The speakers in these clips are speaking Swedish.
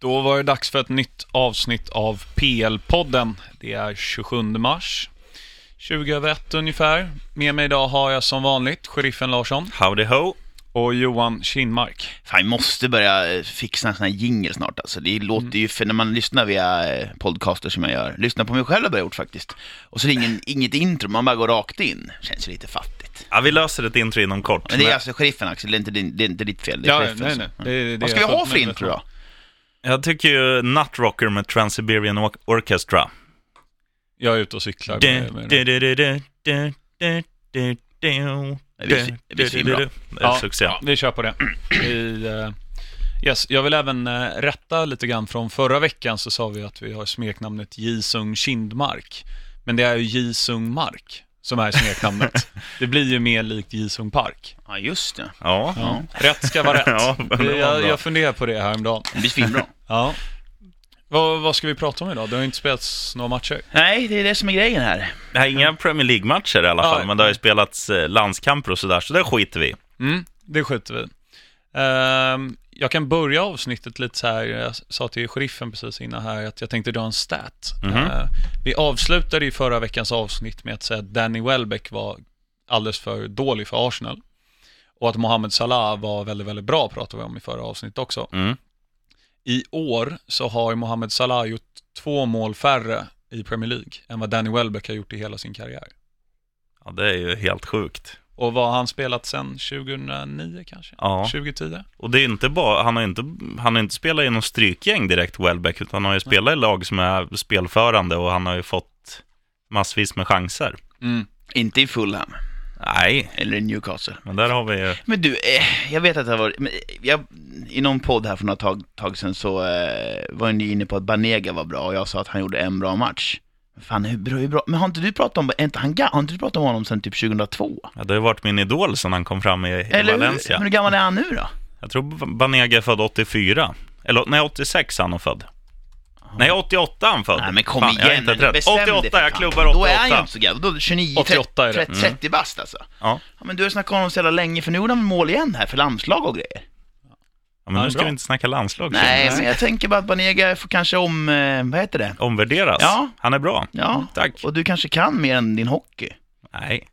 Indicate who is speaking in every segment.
Speaker 1: Då var det dags för ett nytt avsnitt av PL-podden. Det är 27 mars 2001 ungefär. Med mig idag har jag som vanligt sheriffen Larsson
Speaker 2: Howdy ho!
Speaker 1: och Johan Kinmark.
Speaker 2: Fan, vi måste börja eh, fixa en sån här jingle snart alltså. Det låter
Speaker 1: Mm.
Speaker 2: ju, för när man lyssnar via eh, podcaster som jag gör, lyssnar på mig själv har jag gjort faktiskt. Och så är det ingen, inget intro, man bara går rakt in. Känns ju lite fattigt.
Speaker 3: Ja, vi löser ett intro inom kort.
Speaker 2: Men det är alltså sheriffen Axel, det är inte, din, det är inte ditt fel. Det är
Speaker 1: Ja,
Speaker 2: sheriffens.
Speaker 1: nej, nej. Det är- det är
Speaker 2: Vad ska vi
Speaker 1: jag
Speaker 2: ha
Speaker 1: fullt
Speaker 2: för
Speaker 1: medveten
Speaker 2: intro
Speaker 1: om.
Speaker 2: då?
Speaker 3: Jag tycker ju Nut Rocker med Trans-Siberian Or- Orchestra.
Speaker 1: Jag är ute och cyklar.
Speaker 3: Du,
Speaker 1: Med, med
Speaker 3: du, du, du, du, du, du, du, du.
Speaker 2: Det blir svi- det blir
Speaker 3: Du, du,
Speaker 2: svinbra.
Speaker 3: du, du. Det är
Speaker 1: Ja,
Speaker 3: Succé.
Speaker 1: ja, vi kör på det. Vi, eh, yes, jag vill även eh, rätta lite grann från förra veckan så sa vi att vi har smeknamnet Jisung Kindmark. Men det är ju Jisung Mark som är smeknamnet. det blir ju mer likt Jisung Park.
Speaker 2: Ja, just det.
Speaker 3: Ja.
Speaker 1: Ja. Rätt ska vara rätt.
Speaker 3: Ja, men det var
Speaker 1: jag,
Speaker 3: bra.
Speaker 1: jag funderar på det häromdagen.
Speaker 2: Det blir svinbra.
Speaker 1: Ja. Vad, vad ska vi prata om idag? Det har ju inte spelats några matcher.
Speaker 2: nej, det är det som är grejen här.
Speaker 3: Det här är inga Premier League-matcher i alla
Speaker 1: Ja.
Speaker 3: fall, men det har ju spelats eh, landskamper och sådär, så det skiter vi i.
Speaker 1: Mm, det skjuter vi i. Ehm, Jag kan börja avsnittet lite så här. Jag sa till sheriffen precis innan här att jag tänkte dra en stat. Ehm, Vi avslutade ju förra veckans avsnitt med att säga att Danny Welbeck var alldeles för dålig för Arsenal. Och att Mohamed Salah var väldigt, väldigt bra pratade vi om i förra avsnittet också.
Speaker 3: Mm.
Speaker 1: I år så har ju Mohamed Salah gjort två mål färre i Premier League än vad Danny Welbeck har gjort i hela sin karriär.
Speaker 3: Ja, det är ju helt sjukt.
Speaker 1: Och vad har han spelat sen 2009 kanske?
Speaker 3: Ja.
Speaker 1: 2010?
Speaker 3: Och det är ju inte bara, han har ju inte, han har inte spelat i någon strykgäng direkt, Welbeck, utan han har ju spelat i lag som är spelförande och han har ju fått massvis med chanser.
Speaker 1: Mm.
Speaker 2: Inte i Fulham,
Speaker 3: Nej,
Speaker 2: eller i Newcastle.
Speaker 3: men där har vi ju...
Speaker 2: Men du, eh, jag vet att det har varit, men, eh, jag, i någon podd här för några tag, tag sedan så eh, var ni inne på att Banega var bra och jag sa att han gjorde en bra match. Fan, hur bra, hur bra, men har inte du pratat om, är inte han, ga- har inte du pratat om honom sedan typ 2002?
Speaker 3: Ja, det har ju varit min idol sedan han kom fram i, i
Speaker 2: Eller hur,
Speaker 3: Valencia.
Speaker 2: men hur gammal är han nu då?
Speaker 3: Jag tror B- Banega är född 84. Eller nej, 86 han är född. Nej, 88 han född.
Speaker 2: Nej men kom
Speaker 3: Fan,
Speaker 2: igen,
Speaker 3: jag är inte rätt.
Speaker 2: bestäm dig, för
Speaker 3: 88, jag
Speaker 2: fan.
Speaker 3: klubbar 88.
Speaker 2: Då är han ju inte så gammal, då är det 29,
Speaker 1: 88 är det.
Speaker 2: 30, 30
Speaker 3: Mm.
Speaker 2: bast alltså.
Speaker 3: Ja.
Speaker 2: Ja, men du har snackat om honom så jävla länge, för nu gjorde han mål igen här för landslag och grejer.
Speaker 3: ja,
Speaker 1: Ja,
Speaker 3: men nu ska
Speaker 1: bra.
Speaker 3: vi inte snacka landslag.
Speaker 2: Nej,
Speaker 3: känner
Speaker 2: men
Speaker 3: jag.
Speaker 2: jag tänker bara att Banega får kanske om, eh, vad heter det?
Speaker 3: Omvärderas.
Speaker 2: Ja.
Speaker 3: Han är bra.
Speaker 2: Ja,
Speaker 3: Tack.
Speaker 2: och du kanske kan mer än din hockey.
Speaker 3: Nej.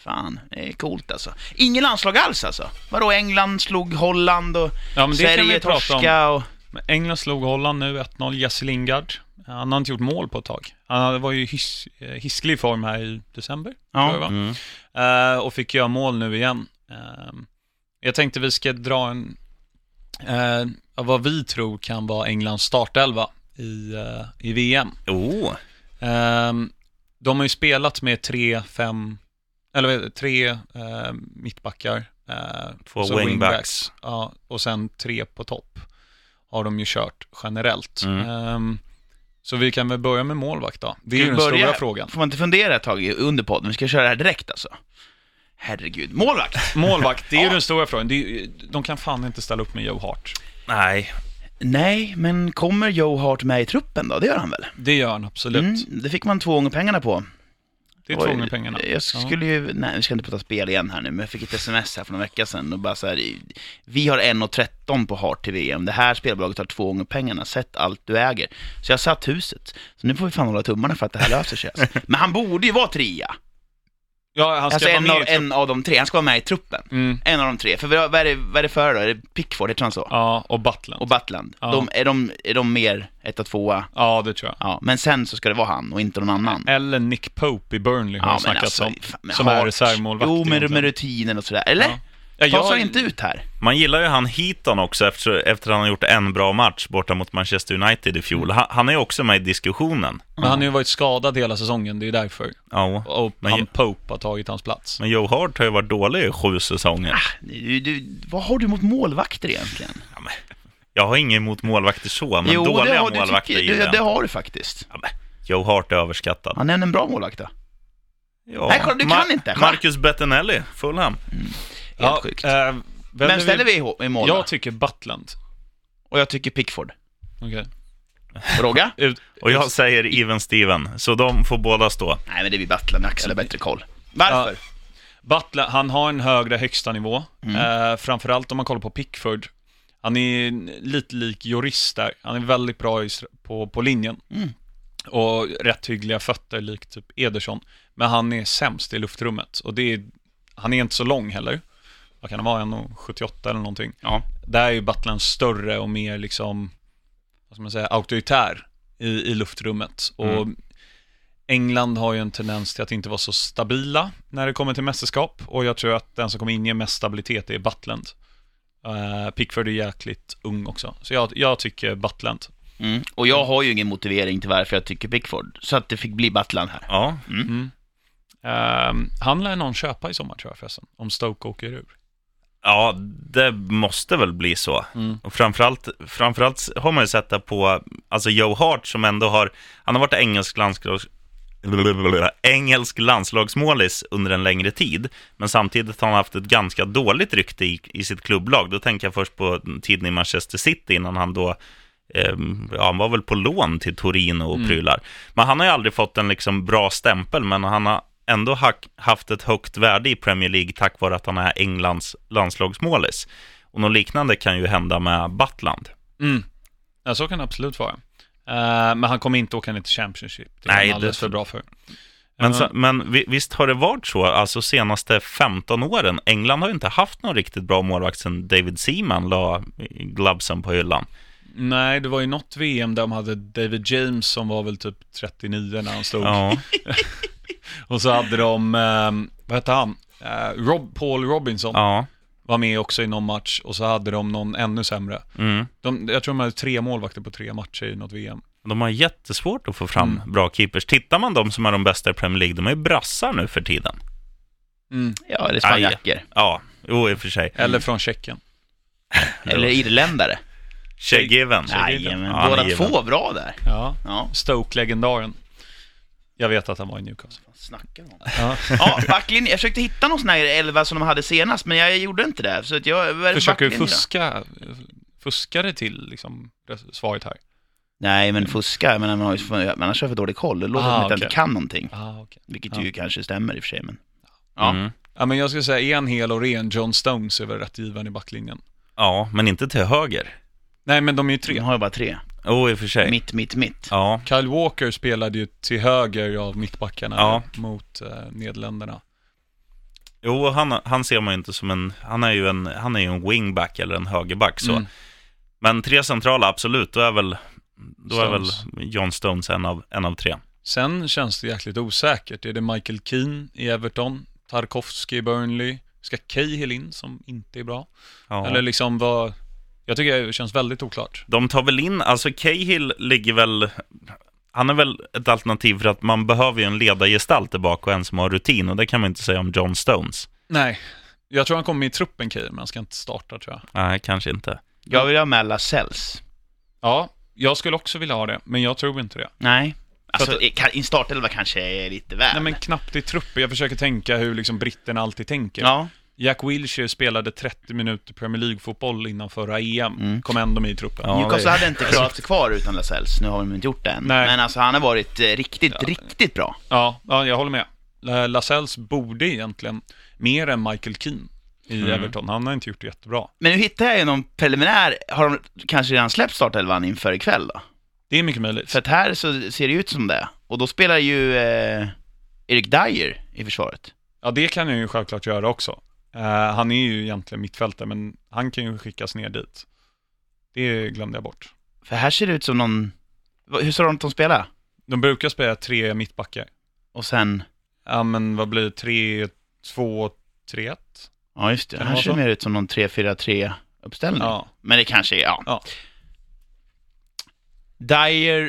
Speaker 2: Fan, det är coolt alltså. Ingen landslag alls alltså? Vadå, England slog Holland och
Speaker 1: Ja, men det kan vi
Speaker 2: Sverige
Speaker 1: prata om.
Speaker 2: torska och...
Speaker 1: Men England slog Holland nu 1-0. Jesse Lingard. Han har inte gjort mål på ett tag. Han var ju i his, eh, hisklig form här i december. tror jag det
Speaker 2: Ja.
Speaker 1: var.
Speaker 3: Mm.
Speaker 1: Eh, och fick göra mål nu igen. Eh, jag tänkte vi ska dra en, eh, vad vi tror kan vara Englands startelva i, eh, i VM.
Speaker 3: Oh.
Speaker 1: Ehm, de har ju spelat med tre, fem, eller vad heter det, tre eh, mittbackar. eh,
Speaker 3: Två
Speaker 1: och så
Speaker 3: wingbacks.
Speaker 1: Ja, och sen tre på topp har de ju kört generellt.
Speaker 3: Mm.
Speaker 1: Ehm, så vi kan väl börja med målvakt då. Det är ju
Speaker 2: Ska vi
Speaker 1: den
Speaker 2: börja?
Speaker 1: stora frågan.
Speaker 2: Får man inte fundera ett tag i- under podden? Vi ska köra det här direkt alltså. Herregud, målvakt!
Speaker 1: Målvakt, det är ju
Speaker 2: Ja.
Speaker 1: den stora frågan. Det är, ju- de kan fan inte ställa upp med Joe Hart.
Speaker 3: Nej.
Speaker 2: Nej, men kommer Joe Hart med i truppen då? Det gör han väl?
Speaker 1: Det gör han absolut.
Speaker 2: Mm, det fick man två gånger pengarna på.
Speaker 1: Det är
Speaker 2: Oj,
Speaker 1: två gånger pengarna.
Speaker 2: Jag skulle ju, nej vi ska inte prata spel igen här nu, men jag fick ett sms här för några veckor sedan och bara så här, vi har 1,13 på Hart till VM, det här spelbolaget har två gånger pengarna, sätt allt du äger. Så jag satt huset, så nu får vi fan hålla tummarna för att det här löser sig. Alltså. Men han borde ju vara trea,
Speaker 1: Ja, ja han ska
Speaker 2: alltså
Speaker 1: vara
Speaker 2: en
Speaker 1: med
Speaker 2: av,
Speaker 1: i truppen.
Speaker 2: en av de tre, han ska vara med i truppen.
Speaker 1: mm.
Speaker 2: En av de tre, för vad vad är det, vad är det för då? Är det Pickford, heter han så?
Speaker 1: Ja, och Butland.
Speaker 2: Och Butland?
Speaker 1: Ja.
Speaker 2: De, är, de, är de mer etta, tvåa?
Speaker 1: ja, det tror jag.
Speaker 2: Ja, men sen så ska det vara han och inte någon annan.
Speaker 1: Eller Nick Pope i Burnley har
Speaker 2: Ja,
Speaker 1: ja,
Speaker 2: men
Speaker 1: snackats
Speaker 2: alltså,
Speaker 1: om.
Speaker 2: fan, men
Speaker 1: som är
Speaker 2: Hart-
Speaker 1: reservmålvakt.
Speaker 2: Jo, men med
Speaker 1: egentligen.
Speaker 2: rutinen och sådär, eller?
Speaker 1: Ja. Ja,
Speaker 2: Fasar
Speaker 1: jag-
Speaker 2: inte ut här.
Speaker 3: Man gillar ju han Heaton också efter, efter han har gjort en bra match borta mot Manchester United i fjol. Han, han är ju också med i diskussionen.
Speaker 1: Men han har ju varit skadad hela säsongen, det är därför.
Speaker 3: Ja.
Speaker 1: Och
Speaker 3: Men-
Speaker 1: han Pope har tagit hans plats.
Speaker 3: Men Joe Hart har ju varit dålig i sju säsonger.
Speaker 2: Ah, Du, du, vad har du mot målvakter egentligen?
Speaker 3: Ja, men, jag har inget emot målvakter så, men
Speaker 2: jo,
Speaker 3: dåliga
Speaker 2: det har, du
Speaker 3: målvakter
Speaker 2: tycker,
Speaker 3: gillar
Speaker 2: det,
Speaker 3: jag.
Speaker 2: det har du faktiskt.
Speaker 3: Ja, men, Joe Hart är överskattad.
Speaker 2: Han är en bra målvakt då. Helt
Speaker 3: Ja.
Speaker 2: Nej, kolla, du kan inte. Kolla.
Speaker 3: Marcus Bettinelli, Fulham.
Speaker 2: sjukt.
Speaker 1: eh, väljer
Speaker 2: Vem ställer vi i hå- i mål då?
Speaker 1: Jag tycker Butland.
Speaker 2: Och jag tycker Pickford.
Speaker 1: Okej.
Speaker 2: Roga?
Speaker 1: Ut-
Speaker 3: Och jag säger Even Steven, så de får båda stå.
Speaker 2: Nej, men det blir Butler med Axel har bättre koll. Varför? Mm.
Speaker 1: Butland, han har en högre högsta nivå. Eh, framförallt om man kollar på Pickford. Han är lite lik jurist där. Han är väldigt bra i str- på, på linjen.
Speaker 2: Mm.
Speaker 1: Och rätt hyggliga fötter, likt typ Ederson. Men han är sämst i luftrummet. Och det är, han är inte så lång heller. Vad kan det vara? 1,78 eller någonting.
Speaker 2: Ja.
Speaker 1: Där är ju Butland större och mer liksom, vad ska man säga, auktoritär i, i luftrummet. Och England har ju en tendens till att inte vara så stabila när det kommer till mästerskap. Och jag tror att den som kommer inge mest stabilitet är Butland. Eh, Pickford är jäkligt ung också. Så jag, jag tycker Butland.
Speaker 2: Mm. Och jag har ju ingen motivering till varför jag tycker Pickford, så att det fick bli Butland här.
Speaker 3: Ja,
Speaker 1: Eh, han lär någon köpa i sommar tror jag förresten, om Stoke åker ur.
Speaker 3: Ja, det måste väl bli så. Och framförallt, framförallt har man ju sett det på alltså Joe Hart som ändå har, han har varit engelsk, landslags, engelsk landslagsmålis under en längre tid. Men samtidigt har han haft ett ganska dåligt rykte i, i sitt klubblag. Då tänker jag först på tiden i Manchester City innan han då ehm, Ja, han var väl på lån till Torino och prylar. Men han har ju aldrig fått en liksom bra stämpel, men han har ändå hack- haft ett högt värde i Premier League tack vare att han är Englands landslagsmålis. Och något liknande kan ju hända med Butland.
Speaker 1: Ja, så kan det absolut vara. Eh, men han kommer inte åka ner till Championship. Det är
Speaker 3: Nej,
Speaker 1: han alldeles
Speaker 3: det-
Speaker 1: för bra för.
Speaker 3: Men, så, men vi- visst har det varit så, alltså senaste 15 åren, England har ju inte haft någon riktigt bra målvakt sedan David Seaman la glubsen på hyllan.
Speaker 1: Nej, det var ju något VM där de hade David James som var väl typ 39 när han stod.
Speaker 3: Ja,
Speaker 1: Och så hade de, ehm, vad hette han? Eh, Rob, Paul Robinson
Speaker 3: ja,
Speaker 1: var med också i någon match och så hade de någon ännu sämre.
Speaker 3: mm.
Speaker 1: De, jag tror de hade tre målvakter på tre matcher i något VM.
Speaker 3: De har jättesvårt att få fram bra keepers. Tittar man de som är de bästa i Premier League, de är ju brassar nu för tiden.
Speaker 2: Ja, eller
Speaker 3: Aj.
Speaker 2: spanjacker.
Speaker 3: Ja, jo i och för sig.
Speaker 1: Eller från Tjeckien.
Speaker 2: Eller irländare.
Speaker 3: Chegiven.
Speaker 2: Jajamän,
Speaker 3: Ja,
Speaker 2: båda
Speaker 3: han är
Speaker 2: två bra där.
Speaker 1: Ja.
Speaker 2: Ja,
Speaker 1: Stoke-legendaren. Jag vet att han var i Newcastle.
Speaker 2: vad snackar de om?
Speaker 1: Ja.
Speaker 2: Ja, backlinjen. Jag försökte hitta någon sån här elva som de hade senast, men jag gjorde inte det. Så att jag... vad är det för
Speaker 1: Försöker du
Speaker 2: backlinje då?
Speaker 1: fuska, fuska det till liksom, res- svaret här?
Speaker 2: Nej, men fuska, jag menar, man har ju för, man har så för dålig koll. Det låter
Speaker 1: Ah,
Speaker 2: som att jag
Speaker 1: okej.
Speaker 2: inte kan någonting.
Speaker 1: Ah, okay.
Speaker 2: Vilket
Speaker 1: Ja.
Speaker 2: ju kanske stämmer i och för sig, men...
Speaker 3: Ja.
Speaker 2: Ja.
Speaker 3: Mm.
Speaker 1: Ja, men jag skulle säga en hel och ren John Stones är väl rätt given i backlinjen.
Speaker 3: ja, men inte till höger.
Speaker 1: Nej, men de är ju
Speaker 2: De
Speaker 1: tre.
Speaker 2: har ju bara tre.
Speaker 3: Jo, i och för sig.
Speaker 2: Mitt, mitt, mitt.
Speaker 3: Ja,
Speaker 1: Mm. Kyle Walker spelade ju till höger av mittbackarna
Speaker 3: Ja.
Speaker 1: mot eh, Nederländerna.
Speaker 3: jo, han, han ser man ju inte som en... Han är ju en, han är ju en wingback eller en högerback. Så.
Speaker 1: Mm.
Speaker 3: Men tre centrala, absolut. Då är väl, då är väl
Speaker 1: Stones.
Speaker 3: John Stones en av, en av tre.
Speaker 1: Sen känns det jäkligt osäkert. Är det Michael Keane i Everton? Tarkovsky i Burnley? Ska Cahill in som inte är bra?
Speaker 3: Ja.
Speaker 1: Eller liksom vad... Jag tycker det känns väldigt oklart.
Speaker 3: De tar väl in, alltså Cahill ligger väl, han är väl ett alternativ för att man behöver ju en ledargestalt där bak och en som har rutin och det kan man inte säga om John Stones.
Speaker 1: Nej, jag tror han kommer med i truppen Cahill, men han ska inte starta tror jag.
Speaker 3: Nej, kanske inte.
Speaker 2: Jag vill ha med Lasells.
Speaker 1: Ja, jag skulle också vilja ha det, men jag tror inte det.
Speaker 2: Nej.
Speaker 1: Så
Speaker 2: Alltså, i- kan- i en startelva kanske är lite väl.
Speaker 1: Nej men knappt i truppen, jag försöker tänka hur liksom britterna alltid tänker.
Speaker 2: Ja.
Speaker 1: Jack Wilshere spelade 30 minuter Premier League-fotboll innan förra EM,
Speaker 2: Mm.
Speaker 1: kom ändå med i truppen.
Speaker 3: Ja, det-
Speaker 2: Newcastle hade inte klarat sig kvar utan Lasells, nu har de inte gjort det än.
Speaker 1: Nej.
Speaker 2: Men alltså han har varit eh, riktigt, riktigt bra.
Speaker 1: Ja, ja jag håller med. La- Lasells borde egentligen, mer än Michael Keane i
Speaker 2: Mm.
Speaker 1: Everton, han har inte gjort det jättebra.
Speaker 2: Men nu hittar jag ju någon preliminär, har de kanske redan släppt startelvan inför ikväll då?
Speaker 1: Det är mycket möjligt.
Speaker 2: För att här så ser det ut som det. Och då spelar ju eh, Erik Dyer i försvaret.
Speaker 1: Ja, det kan han ju självklart göra också. Eh, han är ju egentligen mittfältare, men han kan ju skickas ner dit. Det glömde jag bort.
Speaker 2: För här ser det ut som någon... Va- Hur sa de att de spelar?
Speaker 1: De brukar spela tre mittbackar.
Speaker 2: Och sen...
Speaker 1: Ja, men vad blir det? Tre, två, tre, ett?
Speaker 2: Ja, just det.
Speaker 1: Kan det
Speaker 2: Här
Speaker 1: vara
Speaker 2: ser
Speaker 1: så?
Speaker 2: det mer ut som någon 3-4-3-uppställning.
Speaker 1: Ja.
Speaker 2: Men det kanske är, ja.
Speaker 1: Ja.
Speaker 2: Dyer,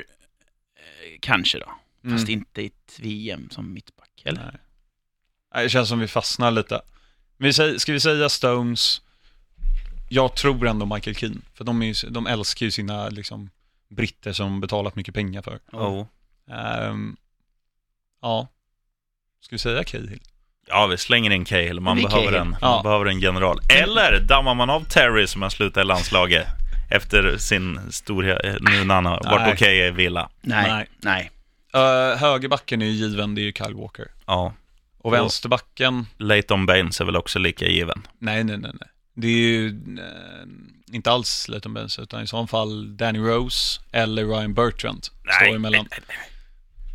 Speaker 2: eh, kanske då.
Speaker 1: Mm.
Speaker 2: Fast inte i ett VM som mittback, eller?
Speaker 1: Nej. Nej, Det känns som vi fastnar lite. Vi säger, ska vi säga Stones? Jag tror ändå Michael Keane, för de, är, ju- de älskar ju sina liksom, britter som betalat mycket pengar för.
Speaker 3: Oh.
Speaker 1: Ehm, ja, ska vi säga Cahill?
Speaker 3: Ja, vi slänger in Cahill. Man,
Speaker 2: Vi
Speaker 3: behöver
Speaker 2: Cahill.
Speaker 3: en, man
Speaker 1: Ja.
Speaker 3: behöver en general. Eller dammar man av Terry som har slutat i landslaget efter sin storhet, eh, nu när han har varit
Speaker 1: Nej.
Speaker 3: okej i Villa.
Speaker 2: Nej.
Speaker 1: Nej.
Speaker 2: Nej.
Speaker 1: Uh, högerbacken är ju given, det är ju Kyle Walker.
Speaker 3: Ja,
Speaker 1: Och
Speaker 3: Ja.
Speaker 1: vänsterbacken,
Speaker 3: Leighton Baines är väl också lika given.
Speaker 1: nej, nej, nej, nej. Det är ju eh, inte alls Leighton Baines, utan i så fall Danny Rose eller Ryan Bertrand står emellan.
Speaker 3: nej, nej.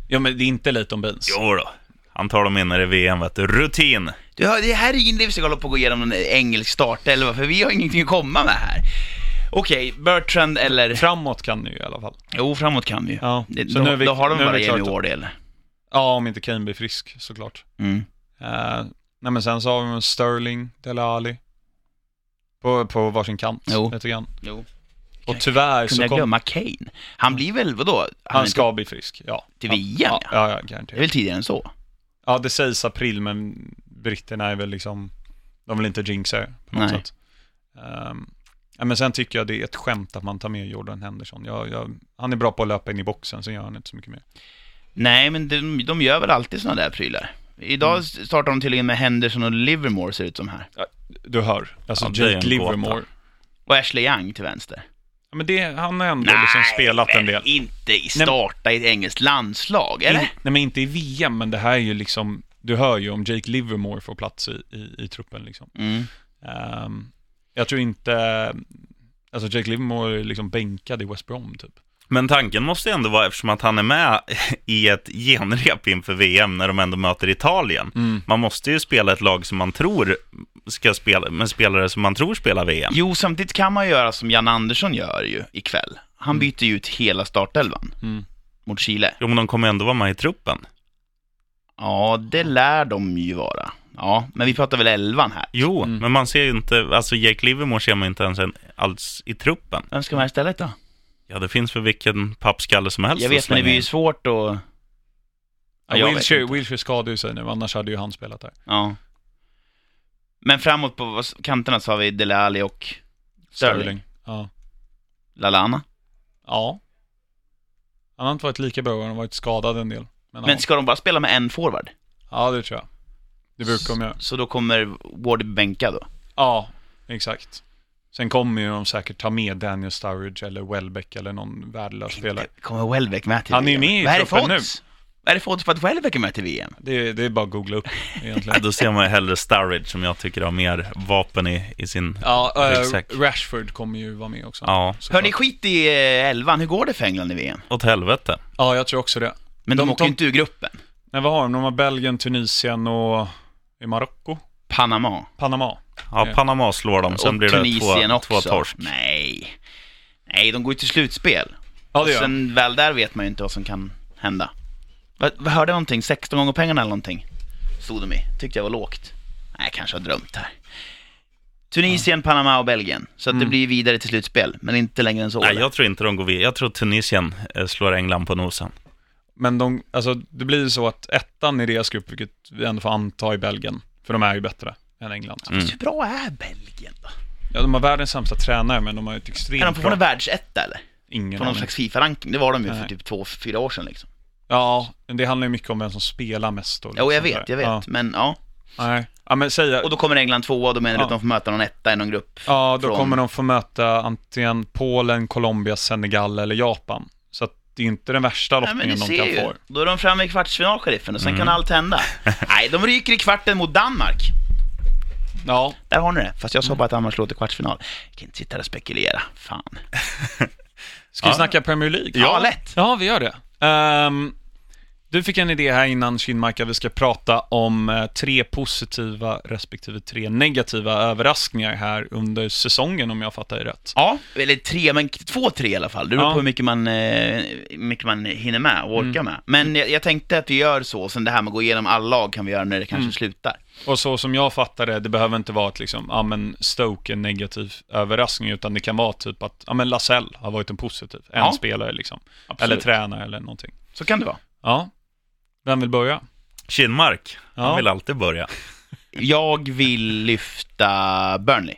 Speaker 1: Ja, men det är inte Leighton Baines.
Speaker 3: Jo då. Han tar dem in i VM, vet du. Rutin.
Speaker 2: Du hör, det här är ingen livs att hålla på att gå igenom en engelsk startelva, för vi har ingenting att komma med här. Okej, Bertrand eller...
Speaker 1: Framåt kan ni ju i alla fall.
Speaker 2: Jo, framåt kan vi ju.
Speaker 1: Ja,
Speaker 2: Det-
Speaker 1: så
Speaker 2: då,
Speaker 1: nu är vi-
Speaker 2: då har de
Speaker 1: nu är
Speaker 2: bara
Speaker 1: vi klart
Speaker 2: en i
Speaker 1: då.
Speaker 2: år, det, eller?
Speaker 1: Ja, om inte Kane blir frisk såklart.
Speaker 2: Mm.
Speaker 1: Eh, nej, men sen så har vi med Sterling, Dele Alli. På, på varsin kant,
Speaker 2: Jo.
Speaker 1: lite grann.
Speaker 2: Jo.
Speaker 1: Och tyvärr
Speaker 2: Kunde
Speaker 1: så
Speaker 2: jag
Speaker 1: kom,
Speaker 2: glömma Kane? Han blir väl, vadå? Han, är
Speaker 1: han
Speaker 2: inte
Speaker 1: ska bli frisk. Ja.
Speaker 2: till VM,
Speaker 1: Ja,
Speaker 2: ja.
Speaker 1: ja, ja
Speaker 2: Det är
Speaker 1: garanterat.
Speaker 2: väl tidigare än så?
Speaker 1: Ja, det sägs april, men britterna är väl liksom, de vill inte jinxa det på något
Speaker 2: Nej.
Speaker 1: sätt. Ehm, ja, men sen tycker jag det är ett skämt att man tar med Jordan Henderson. Jag, jag, han är bra på att löpa in i boxen, så gör han inte så mycket mer.
Speaker 2: Nej, men de, de gör väl alltid sådana där prylar. Idag
Speaker 1: Mm.
Speaker 2: startar de tydligen med Henderson och Livermore, ser det ut som här.
Speaker 1: Du hör, alltså
Speaker 3: Ja, det är
Speaker 1: Jake
Speaker 3: en gåta.
Speaker 1: Livermore.
Speaker 2: Och Ashley Young till vänster.
Speaker 1: Ja, men det, han har ändå liksom spelat en
Speaker 2: men
Speaker 1: del.
Speaker 2: inte i starta i ett engelskt landslag,
Speaker 1: In,
Speaker 2: eller?
Speaker 1: nej, men inte i VM, men det här är ju liksom, du hör ju om Jake Livermore får plats i, i, i truppen liksom.
Speaker 2: Mm.
Speaker 1: Ehm, jag tror inte, alltså Jake Livermore är liksom bänkad i West Brom typ.
Speaker 3: Men tanken måste ju ändå vara, eftersom att han är med i ett genrep inför VM när de ändå möter Italien. Man måste ju spela ett lag som man tror ska spela, med spelare som man tror spelar VM.
Speaker 2: Jo, samtidigt kan man göra som Jan Andersson gör ju ikväll. Han byter ju ut hela startelvan
Speaker 1: Mm.
Speaker 2: mot Chile.
Speaker 3: Jo, men de kommer ändå vara med i truppen.
Speaker 2: Ja, det lär de ju vara. Ja, men vi pratar väl elvan här.
Speaker 3: Jo, men man ser ju inte, alltså Jake Livermore ser man inte ens en, alls i truppen.
Speaker 2: Vem ska vara istället då?
Speaker 3: Ja, det finns för vilken pappskalle som helst
Speaker 2: Jag
Speaker 3: att
Speaker 2: vet, men
Speaker 3: slänga
Speaker 2: det blir
Speaker 3: in.
Speaker 2: ju svårt att...
Speaker 1: Ja,
Speaker 2: jag vet
Speaker 1: Wilshire,
Speaker 2: inte.
Speaker 1: Wilshire skadar ju sig nu, annars hade ju han spelat där.
Speaker 2: Ja. Men framåt på vad- kanterna så har vi Dele Alli och Sterling.
Speaker 1: Ja.
Speaker 2: Lalana.
Speaker 1: ja. Han har inte varit lika bra, han har varit skadad en del. Men,
Speaker 2: Men
Speaker 1: ja.
Speaker 2: ska de bara spela med en forward?
Speaker 1: ja, det tror jag. Det brukar de göra.
Speaker 2: Så då kommer Ward bänka då?
Speaker 1: Ja, exakt. Sen kommer ju de säkert ta med Daniel Sturridge eller Welbeck eller någon värdelös spelare.
Speaker 2: Kommer Welbeck med till
Speaker 1: Han är ju
Speaker 2: VM?
Speaker 1: med i
Speaker 2: Vad är det för
Speaker 1: truppen
Speaker 2: odds? Vad är det för odds på att Welbeck är med till VM?
Speaker 1: Det är, det är bara att googla upp
Speaker 3: Ja,
Speaker 1: egentligen.
Speaker 3: Då ser man ju hellre Sturridge som jag tycker har mer vapen i, i sin
Speaker 1: Ja,
Speaker 3: ryggsäck.
Speaker 1: äh, Rashford kommer ju vara med också.
Speaker 3: Ja,
Speaker 1: såklart.
Speaker 2: Hörni, skit i eh, elvan. Hur går det för England i VM?
Speaker 3: åt helvete.
Speaker 1: Ja, jag tror också det.
Speaker 2: Men de,
Speaker 1: De-
Speaker 2: åker
Speaker 1: de-
Speaker 2: ju inte ur gruppen.
Speaker 1: Nej, vad har de? De har Belgien, Tunisien och... i Marocko?
Speaker 2: Panama.
Speaker 1: Panama. Ja.
Speaker 3: Ja, Panama slår dem, sen
Speaker 2: och
Speaker 3: blir det
Speaker 2: Tunisien
Speaker 3: två,
Speaker 2: också.
Speaker 3: två torsk.
Speaker 2: Nej. Nej, de går ju till slutspel.
Speaker 1: Ja,
Speaker 2: Och
Speaker 1: det gör de.
Speaker 2: sen väl där vet man ju inte vad som kan hända. Vad, vad hörde jag någonting? 16 gånger pengarna eller någonting? Stod de i. Tyckte jag var lågt. Nej, jag kanske har drömt här. Tunisien, Panama och Belgien. Så att det blir vidare till slutspel, men inte längre än så.
Speaker 3: Nej,
Speaker 2: eller?
Speaker 3: jag tror inte de går vidare. Jag tror Tunisien eh, slår England på nosen.
Speaker 1: Men de, alltså, det blir ju så att ettan i deras grupp, vilket vi ändå får anta i Belgien, för de är ju bättre än England.
Speaker 3: Mm.
Speaker 2: Hur bra är Belgien då?
Speaker 1: Ja, de har världens sämsta tränare, men de har ju ett
Speaker 2: Är de
Speaker 1: extremt
Speaker 2: fortfarande
Speaker 1: bra...
Speaker 2: världsetta eller?
Speaker 1: Ingen
Speaker 2: På någon
Speaker 1: aning.
Speaker 2: slags FIFA-ranking? Det var de ju för
Speaker 1: Nej.
Speaker 2: typ två, fyra år sedan liksom.
Speaker 1: Ja, men det handlar ju mycket om vem som spelar mest då. liksom,
Speaker 2: Jo, jag
Speaker 1: sådär.
Speaker 2: vet, jag vet.
Speaker 1: Ja,
Speaker 2: Men ja.
Speaker 1: nej. ja men säga...
Speaker 2: Och då kommer England tvåa och då menar du
Speaker 1: Ja.
Speaker 2: att de får möta någon etta i någon grupp?
Speaker 1: Ja, då
Speaker 2: från-
Speaker 1: kommer de få möta antingen Polen, Colombia, Senegal eller Japan. Så att det är inte den värsta
Speaker 2: Nej men
Speaker 1: lottningen
Speaker 2: ni
Speaker 1: de
Speaker 2: ser
Speaker 1: kan
Speaker 2: ju.
Speaker 1: få. Mm.
Speaker 2: Då är de framme i kvartsfinal, sheriffen, och sen kan allt hända. Nej, de ryker i kvarten mot Danmark.
Speaker 1: Ja,
Speaker 2: Där har ni det. Fast
Speaker 1: Mm.
Speaker 2: jag sa bara att Danmark slår till kvartsfinal. Jag kan inte sitta där och spekulera. Fan.
Speaker 1: ska vi
Speaker 3: Ja.
Speaker 1: snacka Premier League?
Speaker 2: Ja, lätt.
Speaker 1: Ja, vi gör det. Ehm, du fick en idé här innan, Kinmarka. Vi ska prata om eh, tre positiva respektive tre negativa överraskningar här under säsongen, om jag fattar det rätt.
Speaker 2: Ja, eller tre, men två, tre i alla fall. Det beror
Speaker 1: Ja. Mm.
Speaker 2: på hur mycket man, eh, hur mycket man hinner med och orkar med. Men jag, jag tänkte att vi gör så, sen det här med att gå igenom alla lag kan vi göra när det kanske
Speaker 1: Mm.
Speaker 2: slutar.
Speaker 1: Och så som jag fattar det, det behöver inte vara att liksom, ja men Stoke är en negativ överraskning, utan det kan vara typ att, ja men Lasell har varit en positiv, en
Speaker 2: Ja.
Speaker 1: spelare liksom.
Speaker 2: Absolut.
Speaker 1: Eller tränare eller någonting.
Speaker 2: Så kan det vara.
Speaker 1: Ja. Vem vill börja?
Speaker 3: Kinmark, han
Speaker 1: Ja.
Speaker 3: vill alltid börja.
Speaker 2: Jag vill lyfta Burnley,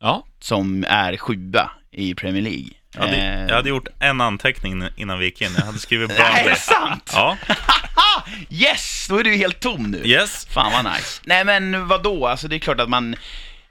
Speaker 1: Ja.
Speaker 2: som är sjua i Premier League.
Speaker 3: Jag hade,
Speaker 2: Eh,
Speaker 3: jag hade gjort en anteckning innan vi gick in. Jag hade skrivit
Speaker 2: Nej, är
Speaker 3: Burnley.
Speaker 2: det sant?
Speaker 3: Ja,
Speaker 2: Yes! Då är du helt tom nu.
Speaker 3: yes.
Speaker 2: Fan vad nice. Nej men vad då? alltså det är klart att man...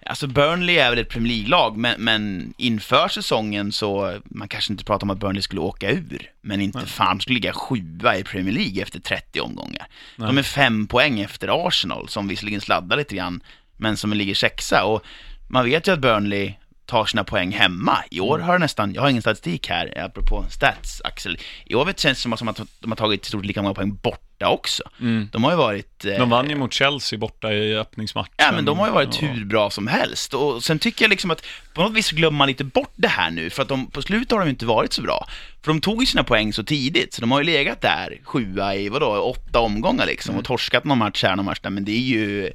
Speaker 2: Alltså Burnley är väl ett Premier League-lag, men, men inför säsongen så, man kanske inte pratar om att Burnley skulle åka ur, men inte fan skulle ligga sjua i Premier League efter 30 omgångar. De är fem poäng efter Arsenal, som visserligen sladdar lite grann, men som ligger sexa. Och man vet ju att Burnley tar sina poäng hemma. I år har det nästan, jag har ingen statistik här, apropå stats, Axel. I år vet- känns det som att som att de har tagit i stort lika många poäng borta också. De har ju varit... eh,
Speaker 1: De vann ju mot Chelsea borta i öppningsmatchen.
Speaker 2: Ja, men de har ju varit
Speaker 1: Ja.
Speaker 2: hur bra som helst. Och sen tycker jag liksom att på något vis glömmer man lite bort det här nu, för att de, på slutet har de ju inte varit så bra. För de tog ju sina poäng så tidigt, så de har ju legat där sjua i, vadå, åtta omgångar liksom och torskat någon match här, någon match där, men det är ju...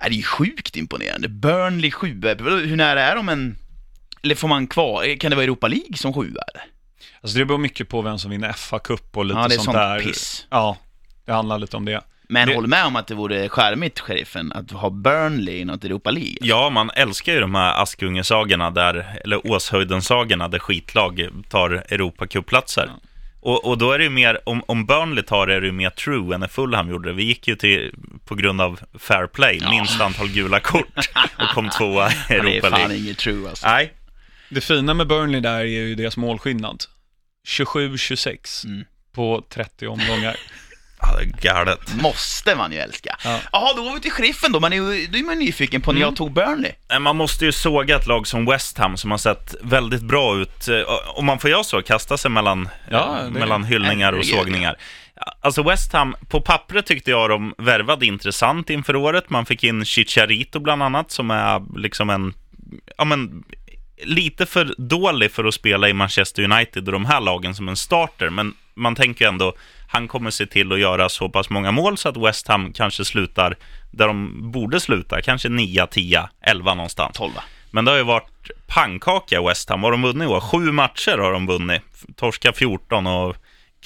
Speaker 2: Är det är ju sjukt imponerande. Burnley sjua, vadå, hur nära är de en... Eller får man kvar, kan det vara Europa League som sjua eller?
Speaker 1: Alltså det beror mycket på vem som vinner FA-cup och lite
Speaker 2: Ja, det är
Speaker 1: sånt
Speaker 2: sånt
Speaker 1: där.
Speaker 2: piss.
Speaker 1: Ja, det handlar lite om det.
Speaker 2: Men
Speaker 1: Det-
Speaker 2: håll med om att det vore charmigt, sheriffen, att ha Burnley i något Europa League.
Speaker 3: Ja, man älskar ju de här Askungesagorna, där, eller Åshöjdensagorna, där skitlag tar Europacupplatser. Och, och då är det ju mer, om, om Burnley tar det, är det ju mer true än när Fulham gjorde det. Vi gick ju till, på grund av fair play, minst antal gula kort och kom tvåa i
Speaker 2: Ja, det
Speaker 3: Europa
Speaker 2: är fan
Speaker 3: League.
Speaker 2: inget true alltså.
Speaker 3: Nej,
Speaker 1: Det fina med Burnley där är ju deras målskillnad. 27-26
Speaker 2: Mm.
Speaker 1: på 30 omgångar.
Speaker 3: ja, det är galet.
Speaker 2: Måste man ju älska.
Speaker 1: Ja.
Speaker 2: Jaha, då går vi till sheriffen då. Man är, ju- då är man nyfiken på när
Speaker 3: Mm.
Speaker 2: jag tog Burnley.
Speaker 3: Nej, Man måste ju såga ett lag som West Ham som har sett väldigt bra ut. Eh, Om man får göra så, kasta sig mellan,
Speaker 1: Ja,
Speaker 3: eh,
Speaker 1: det-
Speaker 3: mellan hyllningar och
Speaker 2: herregud.
Speaker 3: sågningar. Alltså West Ham, på pappret tyckte jag de värvade intressant inför året. Man fick in Chicharito bland annat som är liksom en, ja men, lite för dålig för att spela i Manchester United och de här lagen som en starter. Men man tänker ju ändå, han kommer se till att göra så pass många mål så att West Ham kanske slutar där de borde sluta, kanske 9, 10, 11 någonstans.
Speaker 2: 12
Speaker 3: Men det har ju varit pannkaka i West Ham. Har de vunnit i år? Sju matcher har de vunnit. Torska 14 och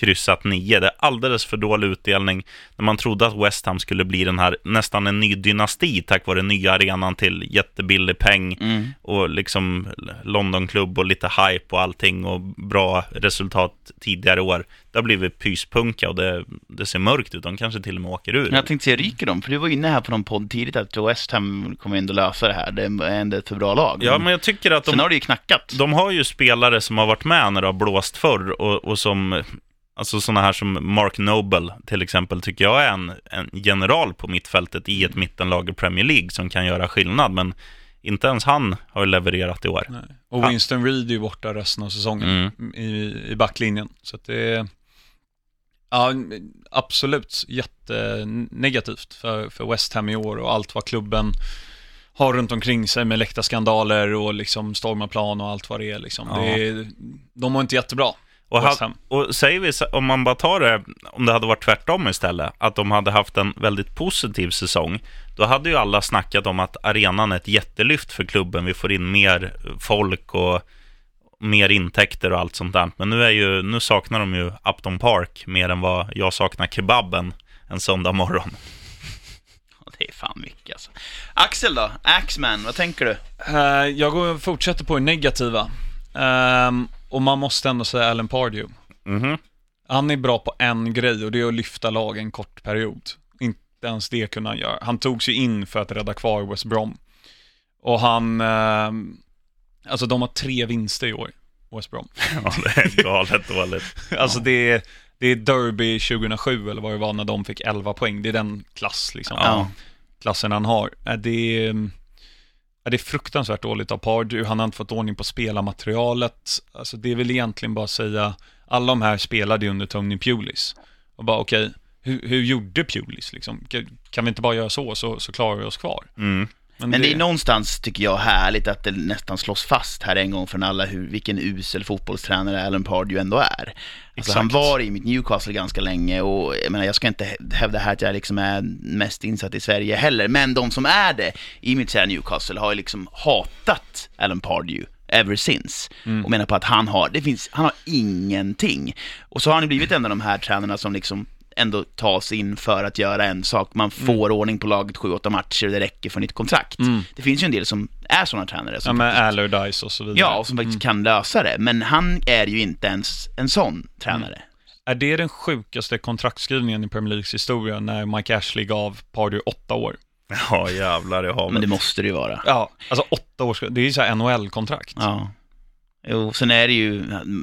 Speaker 3: kryssat 9. Det är alldeles för dålig utdelning. När man trodde att West Ham skulle bli den här, nästan en ny dynasti tack vare nya arenan till jättebillig peng och liksom Londonklubb och lite hype och allting och bra resultat tidigare år. Det har blivit pyspunka och det, det ser mörkt ut. De kanske till och med åker ur.
Speaker 2: Jag tänkte se, ryker de? För du var inne här på någon podd tidigt att West Ham kommer ändå lösa det här. Det är ändå ett för bra lag.
Speaker 3: Ja, men jag tycker att de...
Speaker 2: Sen har det ju knackat.
Speaker 3: De har ju spelare som har varit med när det har blåst förr och, och som, alltså sådana här som Mark Noble till exempel, tycker jag är en, en general på mittfältet i ett mittenlag i Premier League som kan göra skillnad, men inte ens han har ju levererat i år.
Speaker 1: Nej. Och Winston Reed är ju borta resten av säsongen i, i backlinjen. Så att det är ja, absolut jättenegativt för, för West Ham i år och allt vad klubben har runt omkring sig med läktarskandaler och liksom stormaplan och allt vad det är. Liksom.
Speaker 3: Ja.
Speaker 1: Det är de mår inte jättebra.
Speaker 3: Och,
Speaker 1: West
Speaker 3: ha,
Speaker 1: Ham.
Speaker 3: och säger vi, så- om man bara tar det, om det hade varit tvärtom istället, att de hade haft en väldigt positiv säsong, då hade ju alla snackat om att arenan är ett jättelyft för klubben, vi får in mer folk och mer intäkter och allt sånt där. Men nu, är ju, nu saknar de ju Upton Park mer än vad jag saknar kebaben en söndag morgon.
Speaker 2: Det är fan mycket alltså. Axel då? Axman, vad tänker du?
Speaker 1: Eh, jag går, fortsätter på det negativa. Ehm, och man måste ändå säga Alan Pardew.
Speaker 3: Mhm.
Speaker 1: Han är bra på en grej och det är att lyfta lag en kort period. Inte ens det kunde han göra. Han tog sig in för att rädda kvar West Brom. Och han, ehm, alltså de har tre vinster i år, West Brom.
Speaker 3: Ja, det är galet dåligt.
Speaker 1: Alltså det är, det är Derby 2007 eller vad det var när de fick 11 poäng. Det är den klass liksom
Speaker 2: Ja.
Speaker 1: klassen han har. Eh, Det är, eh, det är fruktansvärt dåligt av Pardew. Han har inte fått ordning på spelarmaterialet. Alltså det är väl egentligen bara att säga, alla de här spelade ju under Tony Pulis. Och bara okej, hur, hur gjorde Pulis liksom? Kan- Kan vi inte bara göra så, så, så klarar vi oss kvar?
Speaker 3: Mm.
Speaker 2: Men det är någonstans, tycker jag, härligt att det nästan slås fast här en gång för alla hur, vilken usel fotbollstränare Alan Pardew ändå är. Alltså, han
Speaker 3: Exakt.
Speaker 2: var i mitt Newcastle ganska länge och jag, menar, jag ska inte hä- hävda här att jag liksom är mest insatt i Sverige heller, men de som är det i mitt kära Newcastle har ju liksom hatat Alan Pardew ever since och menar på att han har, det finns, han har ingenting. Och så har han ju blivit en av de här tränarna som liksom ändå tas in för att göra en sak. Man får ordning på laget 7-8 matcher och det räcker för nytt kontrakt. Det finns ju en del som är sådana tränare.
Speaker 1: Ja,
Speaker 2: Som
Speaker 1: med Allardyce och så vidare.
Speaker 2: Ja, och som faktiskt kan lösa det. Men han är ju inte ens en sån tränare.
Speaker 1: Är det den sjukaste kontraktsskrivningen i Premier Leagues historia när Mike Ashley gav Pardew åtta år?
Speaker 3: Ja, jävlar i havet.
Speaker 2: Men det måste det ju vara.
Speaker 1: Ja, alltså åtta år, det är ju så här NHL-kontrakt.
Speaker 2: Ja. Jo, sen är det ju,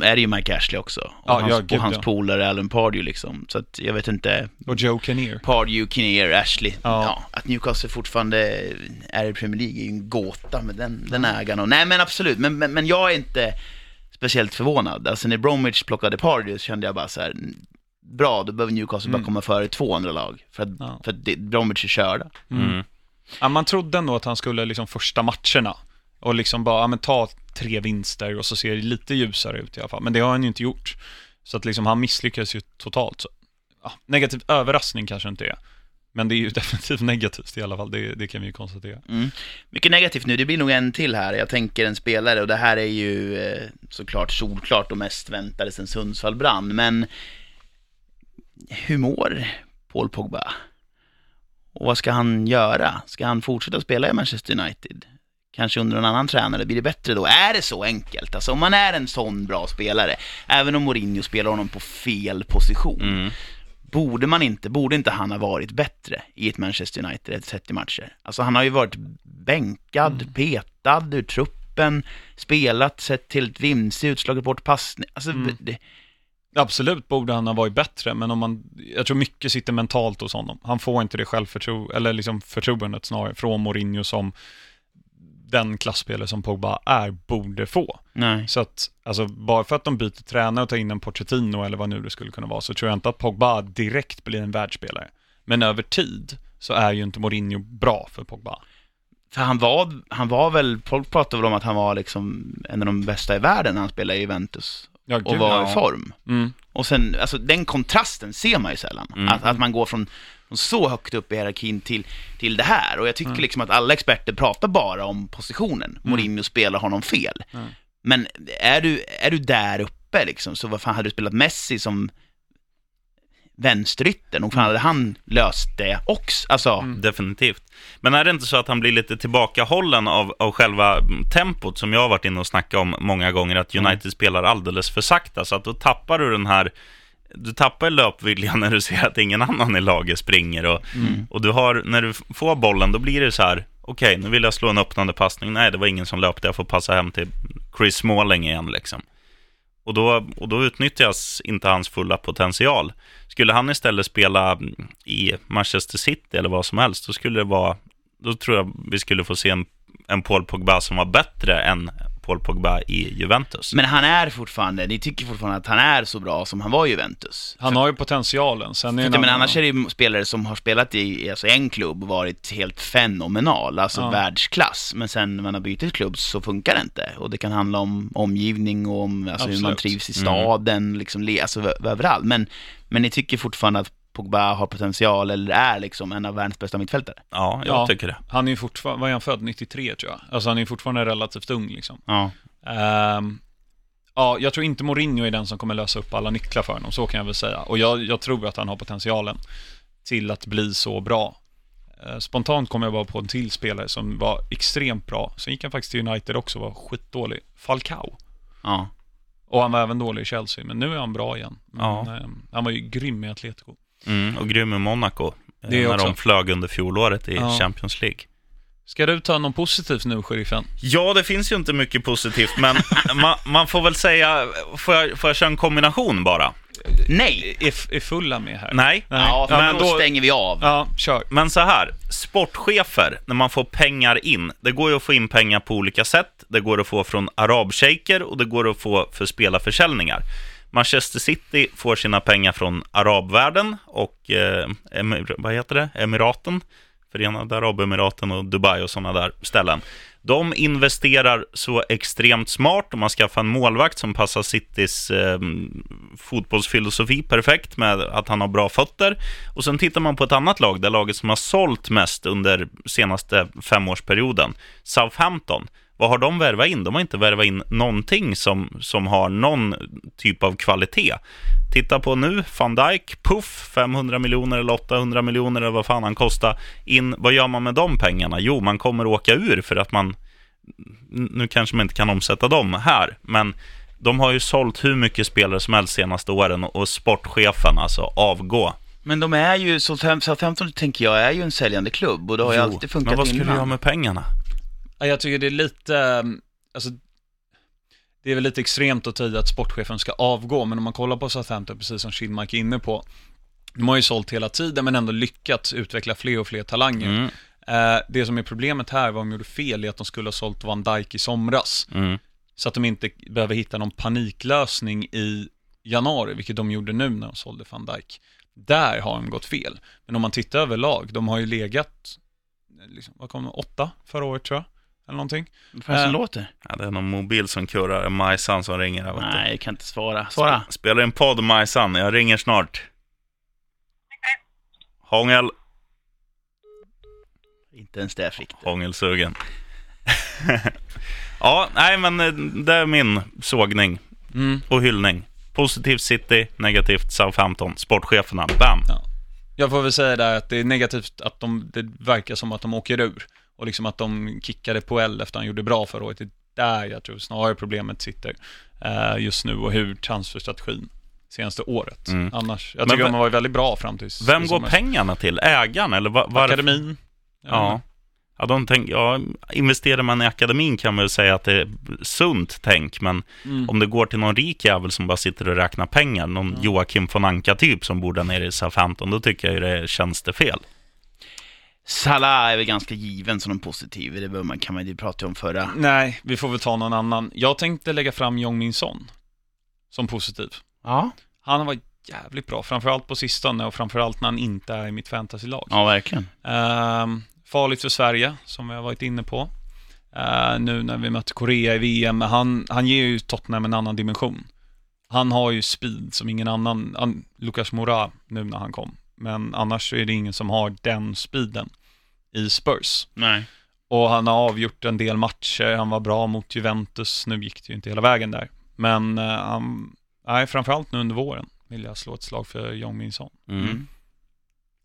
Speaker 2: är det ju Mike Ashley också. Och
Speaker 1: Ja,
Speaker 2: hans,
Speaker 1: ja, gud,
Speaker 2: och hans
Speaker 1: ja.
Speaker 2: polare Alan Pardew liksom. Så att jag vet inte.
Speaker 1: Och Joe Kinnear.
Speaker 2: Pardew, Kinnear, Ashley.
Speaker 1: Ja.
Speaker 2: Ja. att Newcastle fortfarande är i Premier League är ju en gåta med den, den ägaren. Och, nej men absolut, men, men, men jag är inte speciellt förvånad. Alltså när Bromwich plockade Pardew så kände jag bara så här, bra då behöver Newcastle bara komma före två andra lag. För att,
Speaker 1: Mm. Ja.
Speaker 2: för att det, Bromwich är körda.
Speaker 3: Mm.
Speaker 1: Ja, man trodde ändå att han skulle liksom första matcherna och liksom bara, ja, men ta tre vinster och så ser det lite ljusare ut i alla fall. Men det har han ju inte gjort. Så att liksom han misslyckades ju totalt. Så, ja, negativ överraskning kanske inte är. Men det är ju definitivt negativt i alla fall, det, det kan vi ju konstatera.
Speaker 2: Mm. Mycket negativt nu, det blir nog en till här. Jag tänker en spelare och det här är ju eh, såklart solklart och mest väntade sen Sundsvall brann. Men hur mår Paul Pogba? Och vad ska han göra? Ska han fortsätta spela i Manchester United? Kanske under någon annan tränare, blir det bättre då? Är det så enkelt? Alltså om man är en sån bra spelare, även om Mourinho spelar honom på fel position,
Speaker 3: Mm.
Speaker 2: borde man inte, borde inte han ha varit bättre i ett Manchester United efter 30 matcher? Alltså han har ju varit bänkad, petad ur truppen, spelat, sett till ett vimsigt, slagit bort passning. Alltså,
Speaker 1: Mm.
Speaker 2: det,
Speaker 1: Absolut borde han ha varit bättre, men om man, jag tror mycket sitter mentalt hos honom. Han får inte det självförtroendet, eller liksom förtroendet snarare, från Mourinho som den klassspelare som Pogba är, borde få.
Speaker 2: nej.
Speaker 1: Så att, alltså bara för att de byter tränare och tar in en Pochettino eller vad nu det skulle kunna vara, så tror jag inte att Pogba direkt blir en världsspelare. Men över tid så är ju inte Mourinho bra för Pogba.
Speaker 2: För han var, han var väl, folk pratade väl om att han var liksom en av de bästa i världen när han spelade i Juventus
Speaker 1: Ja,
Speaker 2: och var
Speaker 1: ja.
Speaker 2: i form.
Speaker 1: Mm.
Speaker 2: Och sen, alltså den kontrasten ser man ju sällan. Att, att man går från, från så högt upp i hierarkin till, till det här. Och jag
Speaker 1: Mm.
Speaker 2: tycker liksom att alla experter pratar bara om positionen. Mourinho spelar honom fel.
Speaker 1: Mm.
Speaker 2: Men är du, är du där uppe liksom, så vad fan hade du spelat Messi som vänsterytter? Nog
Speaker 1: Mm.
Speaker 2: fan hade han löst det också. Alltså,
Speaker 3: Definitivt. Men är det inte så att han blir lite tillbakahållen av, av själva mm, tempot som jag har varit inne och snackat om många gånger, att United spelar alldeles för sakta, så att då tappar du den här du tappar löpviljan när du ser att ingen annan i laget springer och, och du har, när du f- får bollen, då blir det så här, okej, nu vill jag slå en öppnande passning, nej, det var ingen som löpte, jag får passa hem till Chris Smalling igen liksom. Och då, och då utnyttjas inte hans fulla potential. Skulle han istället spela mm, i Manchester City eller vad som helst, då skulle det vara, då tror jag vi skulle få se en, en Paul Pogba som var bättre än Paul Pogba i Juventus.
Speaker 2: men han är fortfarande, ni tycker fortfarande att han är så bra som han var i Juventus.
Speaker 1: Han har ju potentialen. Sen är
Speaker 2: För
Speaker 1: en
Speaker 2: att, jag menar,
Speaker 1: annan-
Speaker 2: annars är det ju spelare som har spelat i alltså en klubb och varit helt fenomenal, alltså
Speaker 1: Ja.
Speaker 2: världsklass. Men sen när man har bytt klubb så funkar det inte. Och det kan handla om omgivning och om alltså, hur man
Speaker 1: Absolut.
Speaker 2: trivs i staden, liksom, le- alltså ö- överallt. Men, men ni tycker fortfarande att Pogba har potential eller är liksom en av världens bästa mittfältare?
Speaker 3: Ja, jag
Speaker 1: Ja.
Speaker 3: tycker det.
Speaker 1: Han är ju fortfarande, vad är han född? 93 tror jag. Alltså han är fortfarande relativt ung liksom.
Speaker 2: Ja.
Speaker 1: Ehm, ja, jag tror inte Mourinho är den som kommer lösa upp alla nycklar för honom, så kan jag väl säga. Och jag, jag tror att han har potentialen till att bli så bra. Eh, Spontant kom jag bara på en till spelare som var extremt bra. Sen gick han faktiskt till United också och var skitdålig. Falcao.
Speaker 2: ja.
Speaker 1: Och han var även dålig i Chelsea, men nu är han bra igen. Men,
Speaker 3: Ja.
Speaker 1: ehm, han var ju grym i Atletico.
Speaker 3: Mm, och grym i Monaco, eh,
Speaker 1: Det är
Speaker 3: när
Speaker 1: också.
Speaker 3: de flög under fjolåret i
Speaker 1: Ja.
Speaker 3: Champions League.
Speaker 1: Ska du ta något positivt nu, sheriffen?
Speaker 3: Ja, det finns ju inte mycket positivt, men man, man får väl säga, får jag, får jag köra en kombination bara?
Speaker 2: Nej!
Speaker 1: Är, är fulla med här?
Speaker 3: Nej.
Speaker 2: Ja, för
Speaker 3: men
Speaker 2: då,
Speaker 3: då-
Speaker 2: stänger vi av.
Speaker 1: Ja, kör.
Speaker 3: Men så här, sportchefer, när man får pengar in, det går ju att få in pengar på olika sätt. Det går att få från arabshejker och det går att få för spelarförsäljningar. Manchester City får sina pengar från arabvärlden och eh, emir- vad heter det? Emiraten, Förenade Arabemiraten och Dubai och sådana där ställen. De investerar så extremt smart och man skaffar en målvakt som passar Citys eh, fotbollsfilosofi perfekt med att han har bra fötter. Och sen tittar man på ett annat lag, det laget som har sålt mest under senaste femårsperioden, Southampton. Vad har de värvat in? De har inte värvat in någonting som, som har någon typ av kvalitet. Titta på nu, van Dijk, puff, 500 miljoner eller 800 miljoner eller vad fan han kostar. In, vad gör man med de pengarna? Jo, man kommer åka ur för att man nu kanske man inte kan omsätta dem här, men de har ju sålt hur mycket spelare som helst senaste åren och sportchefen, alltså avgå.
Speaker 2: Men de är ju, Southampton Southampton, tänker jag, är ju en säljande klubb och det har ju alltid funkat
Speaker 3: men vad skulle
Speaker 2: innan.
Speaker 3: du göra med pengarna?
Speaker 1: Ja, Jag tycker det är lite, ehm, alltså, det är väl lite extremt att tyda att sportchefen ska avgå, men om man kollar på Southampton, precis som Kindmark är inne på, de har ju sålt hela tiden men ändå lyckats utveckla fler och fler talanger.
Speaker 3: Mm.
Speaker 1: Eh, det som är problemet här, vad de gjorde fel, är att de skulle ha sålt Van Dijk i somras.
Speaker 3: Mm.
Speaker 1: Så att de inte behöver hitta någon paniklösning i januari, vilket de gjorde nu när de sålde van Dijk. Där har de gått fel. Men om man tittar överlag, de har ju legat, eh, liksom, vad kom de, åtta förra året tror jag, eller någonting.
Speaker 2: Vad fan är det som
Speaker 1: Eh,
Speaker 2: låter?
Speaker 3: Ja, det är någon mobil som kurrar. Majsan som ringer. här, vet du.
Speaker 2: Nej, jag kan inte svara. Svara.
Speaker 3: Spelar en podd, Majsan. Jag ringer snart. Hångel.
Speaker 2: Inte ens det fick du.
Speaker 3: Hångelsugen. ja, nej men eh, det är min sågning och hyllning. Positivt City, negativt Southampton. Sportcheferna, bam!
Speaker 1: Jag får väl säga där att det är negativt att de, det verkar som att de åker ur. Och liksom att de kickade på L efter han gjorde bra förra året. Det är där jag tror snarare problemet sitter eh, just nu och hur transferstrategin senaste året.
Speaker 3: Mm.
Speaker 1: Annars, jag
Speaker 3: Men
Speaker 1: tycker
Speaker 3: vem-
Speaker 1: de har varit väldigt bra fram tills
Speaker 3: Vem
Speaker 1: i
Speaker 3: går
Speaker 1: somras.
Speaker 3: pengarna till? Ägaren eller va- varför?
Speaker 1: Akademin. Mm.
Speaker 3: Ja. Ja, de tänk, ja, investerar man i akademin kan man väl säga att det är sunt tänk, men
Speaker 1: Mm.
Speaker 3: om det går till någon rik jävel som bara sitter och räknar pengar, någon Joakim von Anka-typ som bor där nere i Southampton, då tycker jag ju det känns det fel.
Speaker 2: Salah är väl ganska given som en positiv, det behöver man, kan man ju prata om förra.
Speaker 1: Nej, vi får väl ta någon annan. Jag tänkte lägga fram Jong Min Son som positiv.
Speaker 2: Ja.
Speaker 1: Han har varit jävligt bra, framförallt på sistone och framförallt när han inte är i mitt fantasylag.
Speaker 2: Ja, verkligen.
Speaker 1: Ehm, farligt för Sverige, som vi har varit inne på. Ehm, nu när vi mötte Korea i VM, han, han ger ju Tottenham en annan dimension. Han har ju speed som ingen annan, an, Lucas Moura nu när han kom. Men annars så är det ingen som har den speeden i Spurs.
Speaker 2: Nej.
Speaker 1: Och han har avgjort en del matcher, han var bra mot Juventus, nu gick det ju inte hela vägen där. Men eh, han, nej, framförallt nu under våren vill jag slå ett slag för Jong Min Son.
Speaker 2: Mm.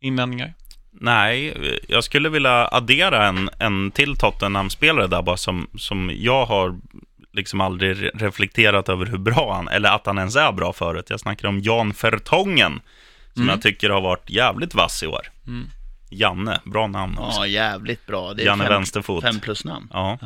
Speaker 1: Invändningar?
Speaker 3: Nej, jag skulle vilja addera en, en till Tottenham-spelare där bara som, som jag har liksom aldrig re- reflekterat över hur bra han, eller att han ens är bra förut. Jag snackar om Jan Fertongen, som
Speaker 1: Mm.
Speaker 3: jag tycker har varit jävligt vass i år.
Speaker 1: Mm.
Speaker 3: Janne, bra namn också.
Speaker 2: Ja, jävligt bra. Det är
Speaker 3: Janne
Speaker 2: fem,
Speaker 3: Vänsterfot.
Speaker 2: fem plus namn.
Speaker 3: Ja.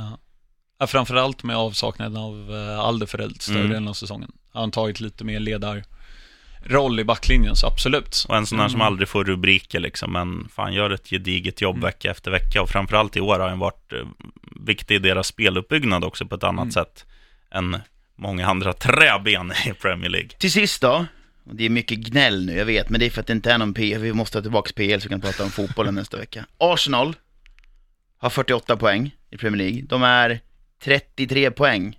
Speaker 1: Ja, framförallt med avsaknaden av eh, Alderfereld större
Speaker 3: Mm.
Speaker 1: delen av säsongen. Han har tagit lite mer ledarroll i backlinjen, så absolut. Mm.
Speaker 3: Och en sån här som aldrig får rubriker liksom, men fan gör ett gediget jobb vecka efter vecka. Och framförallt i år har han varit eh, viktig i deras speluppbyggnad också på ett annat sätt än många andra träben i Premier League.
Speaker 2: Till sist då. Och det är mycket gnäll nu, jag vet, men det är för att det inte är någon P. Vi måste ha tillbaka PL så vi kan prata om fotbollen nästa vecka. Arsenal har 48 poäng i Premier League. De är 33 poäng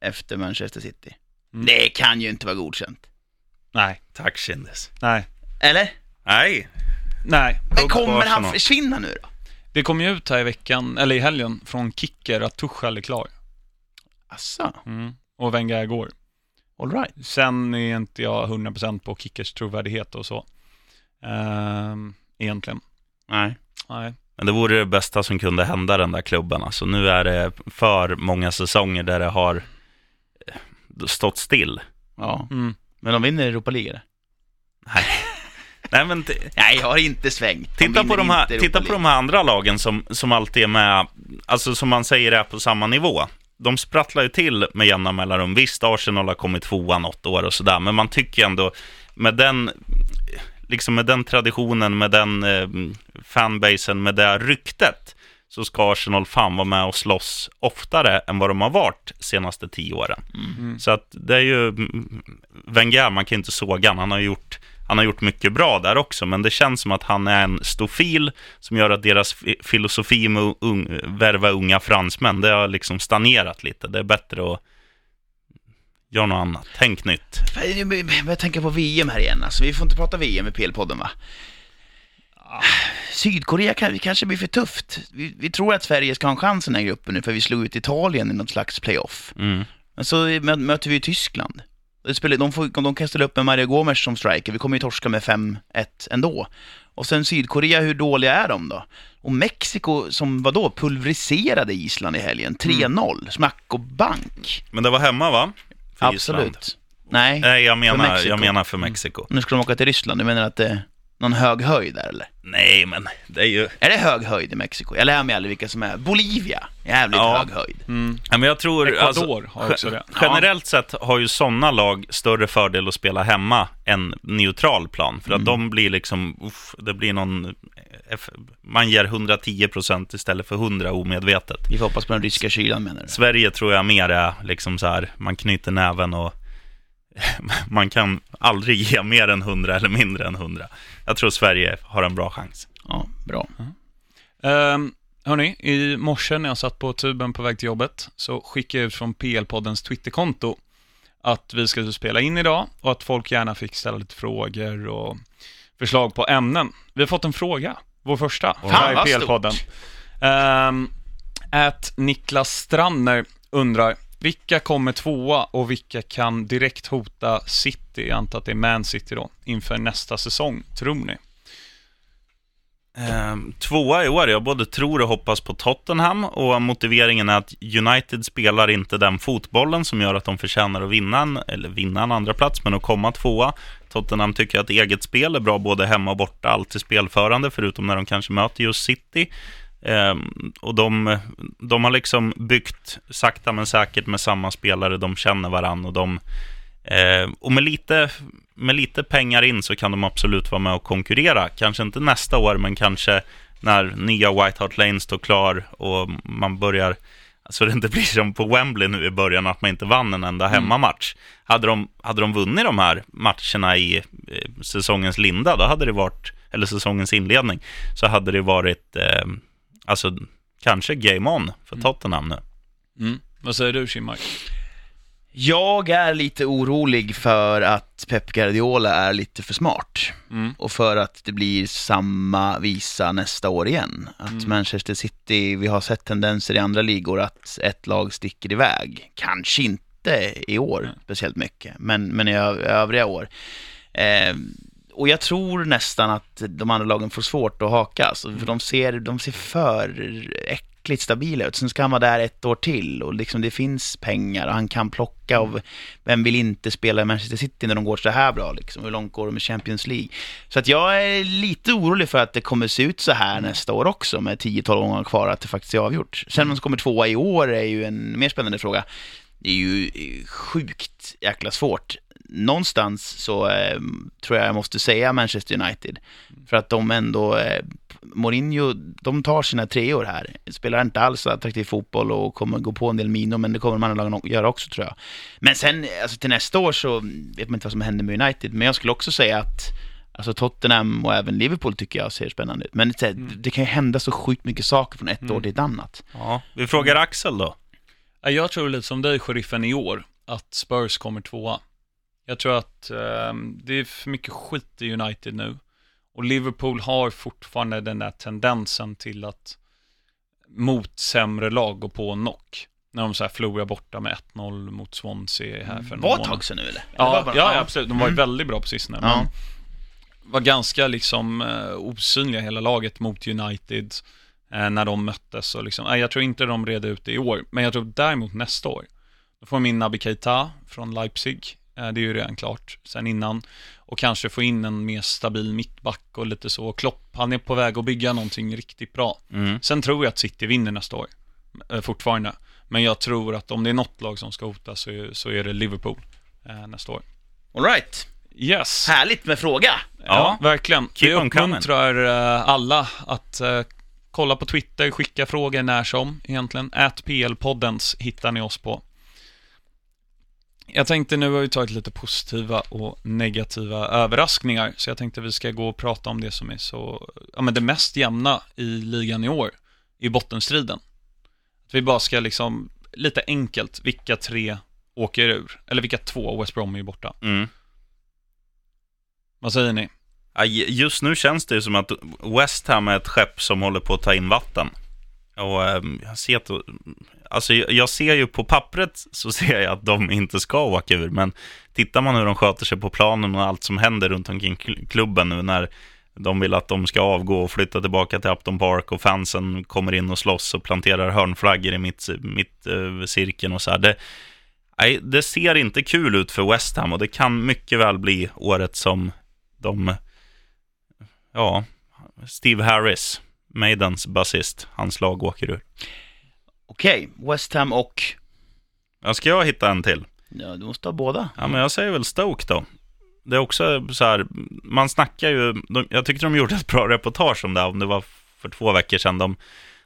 Speaker 2: efter Manchester City.
Speaker 1: Mm.
Speaker 2: Det kan ju inte vara godkänt.
Speaker 1: Nej,
Speaker 3: Tack Kindis.
Speaker 1: nej,
Speaker 2: Eller?
Speaker 3: Nej,
Speaker 1: nej.
Speaker 2: Men
Speaker 3: Hugg på
Speaker 2: kommer han
Speaker 3: Arsenal.
Speaker 2: försvinna nu då?
Speaker 1: Det kom ju ut här i veckan, eller i helgen, från Kicker att Tuchel är klar.
Speaker 2: Asså,
Speaker 1: Mm. Och Wenger går.
Speaker 2: all right.
Speaker 1: Sen är inte jag 100% på Kickers trovärdighet och så. Ehm, egentligen.
Speaker 2: Nej.
Speaker 1: Nej.
Speaker 3: men det vore det bästa som kunde hända den där klubben. Alltså, nu är det för många säsonger där det har eh, stått still.
Speaker 2: Ja,
Speaker 1: Mm.
Speaker 2: men de vinner Europa League eller?
Speaker 3: Nej, men t-
Speaker 2: Nej, jag har inte svängt. De
Speaker 3: titta, på
Speaker 2: vinner
Speaker 3: de här,
Speaker 2: inte Europa
Speaker 3: titta på de
Speaker 2: League.
Speaker 3: här andra lagen som, som alltid är med, alltså som man säger är på samma nivå. De sprattlar ju till med jämna mellanrum. Visst, Arsenal har kommit tvåan åtta år och sådär, men man tycker ändå med den, liksom med den traditionen, med den eh, fanbasen, med det ryktet, så ska Arsenal fan vara med och slåss oftare än vad de har varit senaste tio åren. Så att det är ju, mm, Wenger, man kan ju inte såga han, han har ju gjort han har gjort mycket bra där också, men det känns som att han är en stofil som gör att deras fi- filosofi med att un värva unga fransmän, det har liksom stagnerat lite. Det är bättre att göra något annat. Tänk nytt.
Speaker 2: Fan, Jag börjar tänka på VM här igen alltså. Vi får inte prata VM i PL-podden va? Sydkorea kan, kanske blir för tufft. Vi, vi tror att Sverige ska ha en chans i den här gruppen nu för vi slog ut Italien i något slags playoff.
Speaker 3: Mm.
Speaker 2: Men så mö- möter vi ju Tyskland. Det spelar, de, får, de kan ställa upp med Mario Gomes som striker, vi kommer ju torska med 5-1 ändå. Och sen Sydkorea, hur dåliga är de då? Och Mexiko som vadå, pulveriserade Island i helgen. 3-0, smack och bank.
Speaker 3: Men det var hemma va? För
Speaker 2: Absolut.
Speaker 3: Island.
Speaker 2: Nej.
Speaker 3: Nej, jag menar,
Speaker 2: Mexiko.
Speaker 3: jag menar för Mexiko.
Speaker 2: Nu ska de åka till Ryssland, du menar att det... någon hög höjd där eller?
Speaker 3: Nej, men det är ju...
Speaker 2: Är det hög höjd i Mexiko? Jag lär mig aldrig vilka som är. Bolivia, jävligt
Speaker 3: Ja.
Speaker 2: hög höjd.
Speaker 3: Ja, men jag tror... alltså,
Speaker 1: Ecuador har också det.
Speaker 3: Generellt sett har ju sådana lag större fördel att spela hemma än neutral plan. För att
Speaker 1: Mm.
Speaker 3: de blir liksom, uff, det blir någon... eh, F- Man ger 110 procent istället för 100 omedvetet.
Speaker 2: Vi får hoppas på den ryska kylan menar du?
Speaker 3: Sverige tror jag mer är liksom så här, man knyter näven och man kan aldrig ge mer än 100 eller mindre än 100. Jag tror Sverige har en bra chans.
Speaker 2: Ja, bra.
Speaker 1: Um, hörni, i morse när jag satt på tuben på väg till jobbet så skickade jag ut från PL-poddens Twitterkonto att vi ska spela in idag och att folk gärna fick ställa lite frågor och förslag på ämnen. Vi har fått en fråga, vår första,
Speaker 2: Fan,
Speaker 1: här i
Speaker 2: vad
Speaker 1: PL-podden. Ehm, Att Niklas Strandner undrar, vilka kommer tvåa och vilka kan direkt hota City, jag antar att det är Man City då, inför nästa säsong, tror ni?
Speaker 3: Ehm, Tvåa i år, jag både tror och hoppas på Tottenham och motiveringen är att United spelar inte den fotbollen som gör att de förtjänar att vinna, en, eller vinna en andra plats men att komma tvåa. Tottenham tycker att eget spel är bra både hemma och borta, alltid spelförande förutom när de kanske möter just City. Ehm, och de, de har liksom byggt sakta men säkert med samma spelare, de känner varandra och de Eh, och med lite, med lite pengar in så kan de absolut vara med och konkurrera. Kanske inte nästa år, men kanske när nya White Hart Lane står klar och man börjar, så det inte blir som på Wembley nu i början, att man inte vann en enda hemmamatch. Hade, de, hade de vunnit de här matcherna i eh, säsongens linda, då hade det varit, eller säsongens inledning, så hade det varit, eh, alltså kanske game on för Tottenham nu.
Speaker 1: Mm. Vad säger du Kinnmark?
Speaker 2: Jag är lite orolig för att Pep Guardiola är lite för smart. Och för att det blir samma visa nästa år igen. Att Manchester City, vi har sett tendenser i andra ligor att ett lag sticker iväg. Kanske inte i år speciellt mycket, men, men i ö- övriga år. Eh, och jag tror nästan att de andra lagen får svårt att hakas, för de ser, de ser för äckligt stabila ut. Sen ska han vara där ett år till och liksom det finns pengar och han kan plocka av, vem vill inte spela i Manchester City när de går så här bra liksom? Hur långt går de i Champions League? Så att jag är lite orolig för att det kommer se ut så här nästa år också med 10-12 gånger kvar att det faktiskt är avgjort. Sen om de kommer tvåa i år är ju en mer spännande fråga. Det är ju eh, sjukt jäkla svårt. Någonstans så eh, tror jag jag måste säga Manchester United.
Speaker 1: Mm.
Speaker 2: För att de ändå, eh, Mourinho, de tar sina treor här. Spelar inte alls attraktiv fotboll och kommer gå på en del minor, men det kommer de andra lagen att göra också tror jag. Men sen, alltså till nästa år så vet man inte vad som händer med United, men jag skulle också säga att Alltså Tottenham och även Liverpool tycker jag ser spännande ut. Men det, är så här,
Speaker 1: Mm.
Speaker 2: det kan ju hända så sjukt mycket saker från ett år till ett annat.
Speaker 3: Ja. Vi frågar Axel då.
Speaker 1: Ja, Jag tror lite som dig, sheriffen, i år, att Spurs kommer tvåa. Jag tror att eh, det är för mycket skit i United nu. Och Liverpool har fortfarande den där tendensen till att mot sämre lag gå på knock. När de så här förlorar borta med 1-0 mot Swansea här för någon
Speaker 2: Var ett
Speaker 1: månad.
Speaker 2: tag sedan nu eller?
Speaker 1: Ja,
Speaker 2: Det var bara-
Speaker 1: ja, absolut. De var ju väldigt bra på sistone.
Speaker 2: Ja.
Speaker 1: Men var ganska liksom eh, osynliga hela laget mot United eh, när de möttes. Och liksom, nej, jag tror inte de red ut det i år, men jag tror däremot nästa år. Då får de in Naby Keita från Leipzig. Eh, det är ju redan klart sen innan. Och kanske få in en mer stabil mittback och lite så. Klopp, han är på väg att bygga någonting riktigt bra. Sen tror jag att City vinner nästa år, eh, fortfarande. Men jag tror att om det är något lag som ska hota så, är- så är det Liverpool eh, nästa år.
Speaker 2: All right.
Speaker 1: Yes.
Speaker 2: Härligt med fråga!
Speaker 1: Ja, verkligen.
Speaker 3: Keep
Speaker 1: Vi
Speaker 3: on coming.
Speaker 1: uppmuntrar eh, alla att eh, kolla på Twitter, skicka frågor när som egentligen. Ät PL-poddens hittar ni oss på. Jag tänkte nu har vi tagit lite positiva och negativa överraskningar, så jag tänkte vi ska gå och prata om det som är så, ja men det mest jämna i ligan i år, i bottenstriden. Att vi bara ska liksom, lite enkelt, vilka tre åker ur? Eller vilka två, West Brom är ju borta.
Speaker 3: Mm.
Speaker 1: Vad säger ni?
Speaker 3: Ja, j- Just nu känns det ju som att West Ham är ett skepp som håller på att ta in vatten. Och ehm, jag ser, att, alltså, jag jag ser ju på pappret så ser jag att de inte ska åka ur, men tittar man hur de sköter sig på planen och allt som händer runt omkring kl- klubben nu när de vill att de ska avgå och flytta tillbaka till Upton Park och fansen kommer in och slåss och planterar hörnflaggor i mitt, mitt eh, cirkeln och så här. Det, nej, det ser inte kul ut för West Ham och det kan mycket väl bli året som de ja, Steve Harris, Maidens basist, hans lag åker ur.
Speaker 2: Okej, West Ham och...
Speaker 3: Ja, ska jag hitta en till?
Speaker 2: Ja, du måste ha båda.
Speaker 3: Ja, men jag säger väl Stoke då. Det är också så här, man snackar ju, de, jag tyckte de gjorde ett bra reportage om det, här, om det var för två veckor sedan. De,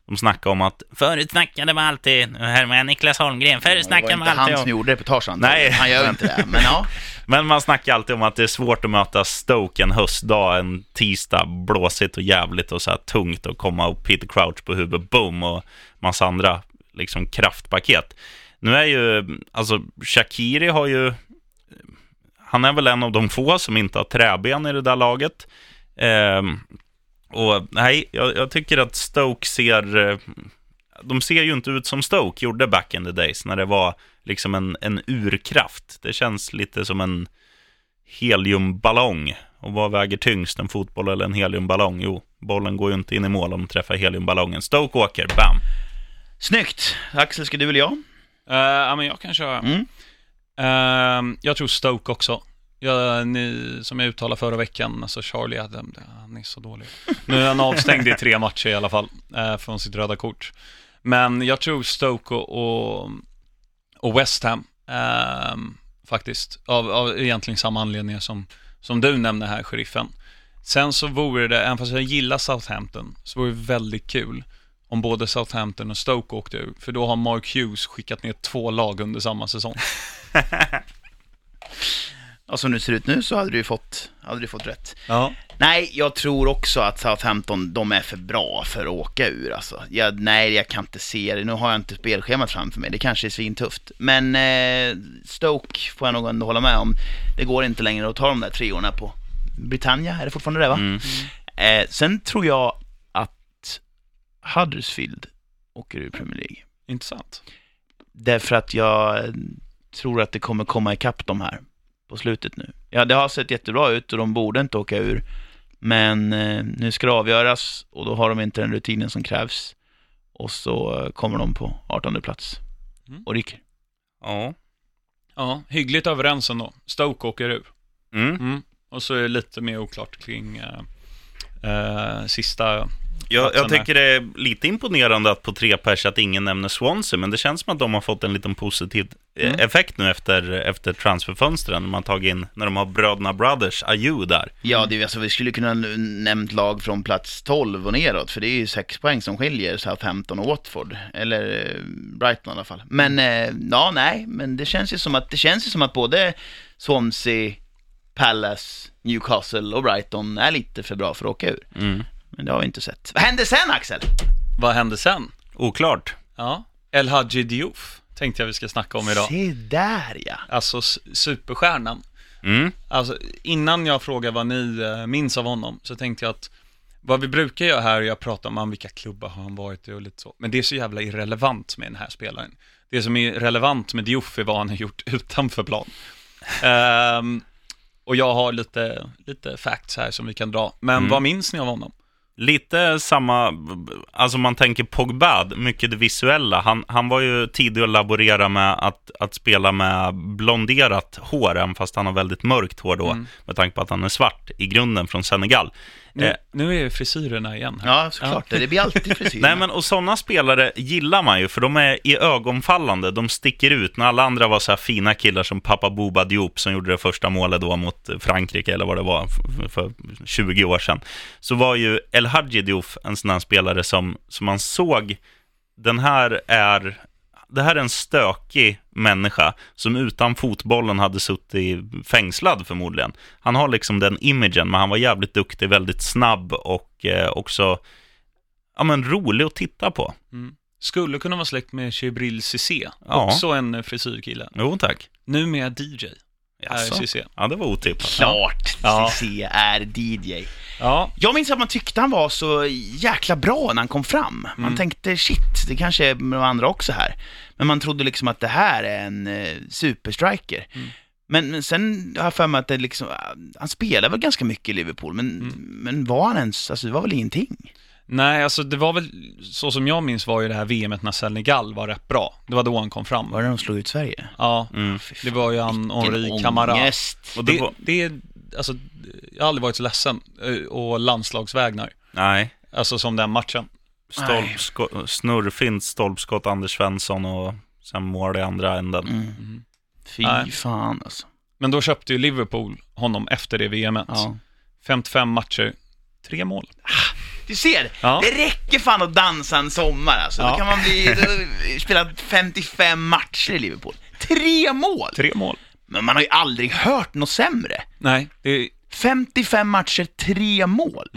Speaker 3: de snackade om att förut snackade man alltid, här med Niklas Holmgren, förut
Speaker 2: Det var
Speaker 3: snackade
Speaker 2: inte
Speaker 3: man alltid
Speaker 2: han
Speaker 3: om...
Speaker 2: som gjorde reportaget antagligen.
Speaker 3: Nej.
Speaker 2: Han gör ju inte det. Men ja,
Speaker 3: Men man snackar alltid om att det är svårt att möta Stoke en höstdag, en tisdag, blåsigt och jävligt och så här tungt och komma och Peter Crouch på huvudet, boom, och massa andra liksom kraftpaket. Nu är ju, alltså Shakiri har ju, han är väl en av de få som inte har träben i det där laget. Ehm, och nej, jag, jag tycker att Stoke ser, eh, de ser ju inte ut som Stoke gjorde back in the days när det var liksom en, en urkraft. Det känns lite som en heliumballong. Och vad väger tyngst, en fotboll eller en heliumballong? Jo, bollen går ju inte in i mål om den träffar heliumballongen. Stoke åker, bam!
Speaker 2: snyggt. Axel, ska du eller jag?
Speaker 1: Eh, ja, men jag kan köra.
Speaker 2: Mm.
Speaker 1: Ehm, jag tror Stoke också. Jag, ni, som jag uttalade förra veckan, alltså Charlie Adam, det- han är så dålig. Nu är han avstängd i tre matcher i alla fall, eh, från sitt röda kort. Men jag tror Stoke och, och, och West Ham, ehm, faktiskt. Av, av egentligen samma anledningar som, som du nämnde här, sheriffen. Sen så vore det, även fast jag gillar Southampton, så vore det väldigt kul om både Southampton och Stoke åkte ur. För då har Mark Hughes skickat ner två lag under samma säsong.
Speaker 2: Ja, som Alltså, det ser ut nu så hade du ju fått, hade du fått rätt.
Speaker 1: Ja.
Speaker 2: Nej, jag tror också att Southampton, de är för bra för att åka ur alltså. jag, Nej, jag kan inte se det. Nu har jag inte spelschemat framför mig, det kanske är svintufft. Men eh, Stoke får jag nog ändå hålla med om. Det går inte längre att ta de där treorna på Britannia, är det fortfarande det va?
Speaker 3: Mm.
Speaker 2: Eh, sen tror jag att Huddersfield åker ur Premier League.
Speaker 1: Intressant.
Speaker 2: Därför att jag tror att det kommer komma ikapp de här på slutet nu. Ja, det har sett jättebra ut och de borde inte åka ur. Men eh, nu ska det avgöras och då har de inte den rutinen som krävs. Och så eh, kommer de på 18 plats
Speaker 1: Mm.
Speaker 2: och ryker.
Speaker 3: Ja.
Speaker 1: Ja, hyggligt överens ändå. Stoke åker ur.
Speaker 3: Mm.
Speaker 1: Mm. Och så är det lite mer oklart kring eh, eh, sista...
Speaker 3: Jag, jag
Speaker 1: Platsen där.
Speaker 3: tycker det är lite imponerande att på tre pers att ingen nämner Swansea, men det känns som att de har fått en liten positiv eh,
Speaker 2: Mm.
Speaker 3: effekt nu efter, efter transferfönstren. Man har tagit in, när de har bröderna Brothers, Ayew där.
Speaker 2: Ja, det, är- alltså, vi skulle kunna n- nämnt lag från plats 12 och neråt, för det är ju sex poäng som skiljer Southampton och Watford, eller eh, Brighton i alla fall. Men, eh, ja, nej, men det känns ju som att, det känns ju som att både Swansea, Palace, Newcastle och Brighton är lite för bra för att åka ur. Men det har vi inte sett. Vad hände sen Axel?
Speaker 1: Vad hände sen?
Speaker 3: Oklart.
Speaker 1: Ja, El Hadji Diouf tänkte jag vi ska snacka om idag.
Speaker 2: Se där ja!
Speaker 1: Alltså s- superstjärnan.
Speaker 3: Mm.
Speaker 1: Alltså, innan jag frågar vad ni eh, minns av honom så tänkte jag att vad vi brukar göra här är att prata om han, vilka klubbar har han varit i och lite så. Men det är så jävla irrelevant med den här spelaren. Det som är relevant med Diouf är vad han har gjort utanför plan. Ehm, och jag har lite, lite facts här som vi kan dra. Men vad minns ni av honom?
Speaker 3: Lite samma, alltså man tänker Pogba, mycket det visuella. Han, han var ju tidig att laborera med att, att spela med blonderat hår, även fast han har väldigt mörkt hår då, med tanke på att han är svart i grunden från Senegal.
Speaker 1: Nu,
Speaker 3: Eh,
Speaker 1: nu är frisyrerna igen. Här.
Speaker 2: Ja, såklart. Det blir alltid frisyr.
Speaker 3: Nej, men och sådana spelare gillar man ju, för de är i ögonfallande. De sticker ut. När alla andra var så här fina killar som pappa Boba Diop, som gjorde det första målet då mot Frankrike, eller vad det var, för, för 20 år sedan, så var ju El Hadji Diouf en sån här spelare som, som man såg, den här är det här är en stökig människa som utan fotbollen hade suttit fängslad förmodligen. Han har liksom den imagen, men han var jävligt duktig, väldigt snabb och eh, också ja, men rolig att titta på.
Speaker 1: Skulle kunna vara släkt med Chebril Cissé,
Speaker 3: Ja.
Speaker 1: också en eh, frisyrkille.
Speaker 3: Jo, tack.
Speaker 1: Numera DJ, är eh, Cissé.
Speaker 3: Ja, det var otippat.
Speaker 2: Klart
Speaker 1: Ja.
Speaker 2: Cissé är DJ.
Speaker 1: Ja,
Speaker 2: Jag minns att man tyckte han var så jäkla bra när han kom fram. Man
Speaker 1: Mm.
Speaker 2: tänkte shit, det kanske är med de andra också här. Men man trodde liksom att det här är en eh, superstriker.
Speaker 1: Mm.
Speaker 2: Men, men sen har jag för mig att det liksom, ah, han spelade väl ganska mycket i Liverpool, men,
Speaker 1: Mm.
Speaker 2: men var han ens, alltså det var väl ingenting?
Speaker 1: Nej, alltså det var väl, så som jag minns var ju det här VMet när Senegal var rätt bra. Det var då han kom fram.
Speaker 2: Var det när de slog ut Sverige?
Speaker 1: Ja,
Speaker 3: Mm.
Speaker 1: det var ju han
Speaker 2: Vilken
Speaker 1: Henri Camara.
Speaker 2: ångest.
Speaker 3: Och det
Speaker 1: Det,
Speaker 3: var,
Speaker 1: det, alltså, jag har aldrig varit så ledsen eh, å landslagsvägnar.
Speaker 3: Nej.
Speaker 1: Alltså som den matchen.
Speaker 2: Nej.
Speaker 3: Stolpsko- snurrfint stolpskott Anders Svensson och sen mål i andra änden.
Speaker 2: Mm. Fy
Speaker 1: Nej.
Speaker 2: fan alltså.
Speaker 1: Men då köpte ju Liverpool honom efter det VMet.
Speaker 2: Ja.
Speaker 1: 55 matcher, tre mål.
Speaker 2: Du ser,
Speaker 1: Ja.
Speaker 2: det räcker fan att dansa en sommar alltså. Då
Speaker 1: Ja.
Speaker 2: kan man bli, då, spela 55 matcher i Liverpool. Tre mål!
Speaker 1: Tre mål.
Speaker 2: Men man har ju aldrig hört något sämre.
Speaker 1: Nej, det,
Speaker 2: 55 matcher, tre mål.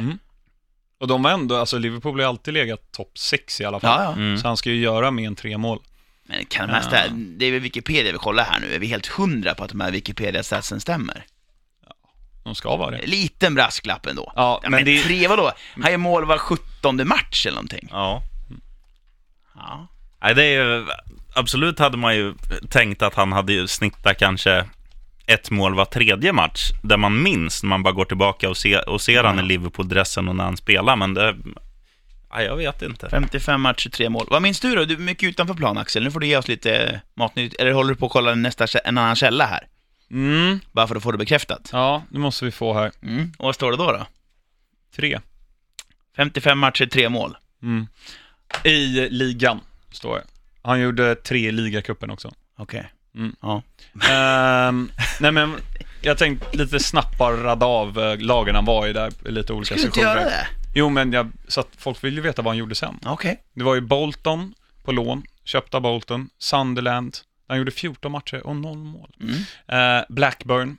Speaker 1: och de var ändå, alltså Liverpool har ju alltid legat topp 6 i alla fall.
Speaker 2: Ja, ja.
Speaker 1: Så han ska ju göra mer än tre mål.
Speaker 2: Men kan de här stä- det är väl Wikipedia vi kollar här nu, är vi helt hundra på att de här Wikipedia-statsen stämmer?
Speaker 1: De ska vara
Speaker 2: Eh,
Speaker 1: det.
Speaker 2: Liten brasklapp ändå.
Speaker 1: Ja,
Speaker 2: Ja,
Speaker 1: men det,
Speaker 2: tre vadå? Han gör mål var 17 match eller någonting.
Speaker 3: Ja.
Speaker 2: Ja.
Speaker 3: Nej, det är ju, absolut hade man ju tänkt att han hade ju snittat kanske ett mål var tredje match, där man minns när man bara går tillbaka och, se, och ser han i Liverpool-dressen och när han spelar, men det... Ja, jag vet inte.
Speaker 2: 55 matcher, tre mål. Vad minns du då? Du är mycket utanför plan Axel, nu får du ge oss lite matnytt. Eller håller du på att kolla nästa, kä- en annan källa här?
Speaker 1: mm,
Speaker 2: Bara för att få det bekräftat.
Speaker 1: ja, nu måste vi få här.
Speaker 2: Mm. Och vad står det då? då?
Speaker 1: Tre.
Speaker 2: 55 matcher, tre mål.
Speaker 1: Mm. I ligan, står det. Han gjorde tre i ligacupen också.
Speaker 2: Okej.
Speaker 1: Mm.
Speaker 2: Ja.
Speaker 1: Ehm, nej men, jag tänkte lite snabbt bara rada av eh, lagen han var i där, i lite olika
Speaker 2: Skulle du inte göra det?
Speaker 1: Jo men jag, så att folk vill ju veta vad han gjorde sen.
Speaker 2: Okej.
Speaker 1: Det var ju Bolton på lån, köpta Bolton, Sunderland, där han gjorde 14 matcher och noll mål.
Speaker 2: Mm.
Speaker 1: Eh, Blackburn,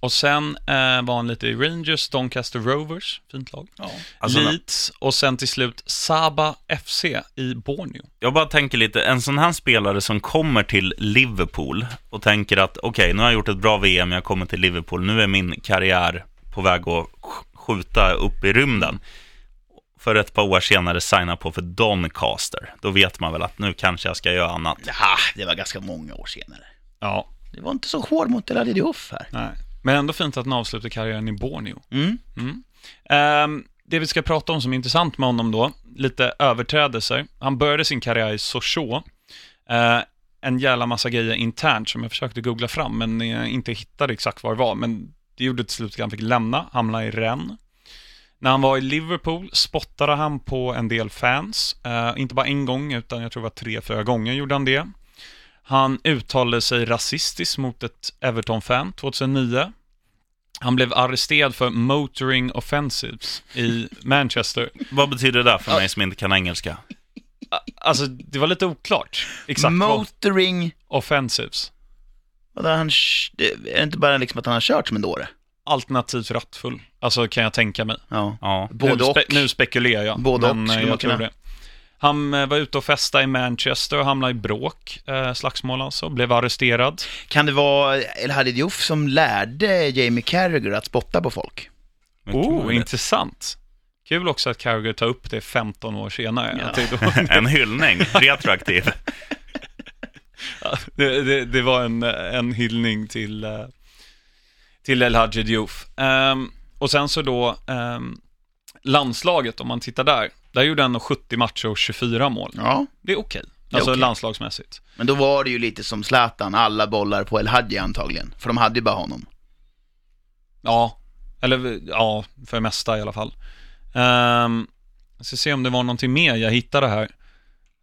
Speaker 1: och sen eh, var han lite i Rangers, Doncaster Rovers, fint lag.
Speaker 2: Ja.
Speaker 3: Alltså,
Speaker 1: Leeds och sen till slut Saba FC i Borneo.
Speaker 3: Jag bara tänker lite, en sån här spelare som kommer till Liverpool och tänker att okej, nu har jag gjort ett bra VM, jag kommer till Liverpool, nu är min karriär på väg att sk- skjuta upp i rymden. För ett par år senare signa på för Doncaster. Då vet man väl att nu kanske jag ska göra annat.
Speaker 2: Ah, det var ganska många år senare.
Speaker 1: Ja,
Speaker 2: Det var inte så hård mot El Adidioff här.
Speaker 1: nej. Men ändå fint att han avslutar karriären i Borneo.
Speaker 2: Mm.
Speaker 1: Ehm, det vi ska prata om som är intressant med honom då, lite överträdelser. Han började sin karriär i Sochaux. Eh, en jävla massa grejer internt som jag försökte googla fram men eh, inte hittade exakt vad det var. Men det gjorde till slut att han fick lämna, hamna i Rennes. När han var i Liverpool spottade han på en del fans. Eh, inte bara en gång, utan jag tror det var tre, fyra gånger gjorde han det. Han uttalade sig rasistiskt mot ett Everton-fan 2009. Han blev arresterad för motoring offensives i Manchester.
Speaker 3: Vad betyder det där för mig som inte kan engelska?
Speaker 1: A- Alltså, det var lite oklart exakt vad
Speaker 2: Motoring,
Speaker 1: offensives.
Speaker 2: vadå, han, sh- det- är det inte bara liksom att han har kört som en dåre?
Speaker 1: Alternativt rattfull, alltså kan jag tänka mig.
Speaker 2: Ja.
Speaker 3: Ja.
Speaker 1: nu,
Speaker 2: Både och.
Speaker 1: nu spekulerar jag.
Speaker 2: Både och,
Speaker 1: men, eh,
Speaker 2: skulle man
Speaker 1: jag tror
Speaker 2: kunna.
Speaker 1: det. Han eh, var ute och festade i Manchester och hamnade i bråk, eh, slagsmål alltså, blev arresterad.
Speaker 2: Kan det vara El Hadid Diouf som lärde Jamie Carragher att spotta på folk?
Speaker 3: mycket
Speaker 1: Oh,
Speaker 3: möjligt.
Speaker 1: intressant. Kul också att Carragher tar upp det 15 år senare.
Speaker 2: Ja.
Speaker 1: Jag tänkte-
Speaker 3: En hyllning, retroaktiv.
Speaker 1: det, det, det var en, en hyllning till, eh, till El Hadji Diouf. Ehm, och sen så då ehm, landslaget, om man tittar där, där gjorde han nog 70 matcher och 24 mål.
Speaker 2: Ja.
Speaker 1: Det är okej,
Speaker 2: är
Speaker 1: alltså
Speaker 2: okej.
Speaker 1: landslagsmässigt.
Speaker 2: Men då var det ju lite som Zlatan, alla bollar på El Hadji antagligen. För de hade ju bara honom.
Speaker 1: Ja, eller ja, för det mesta i alla fall. Um, jag ska se om det var någonting mer jag hittade här.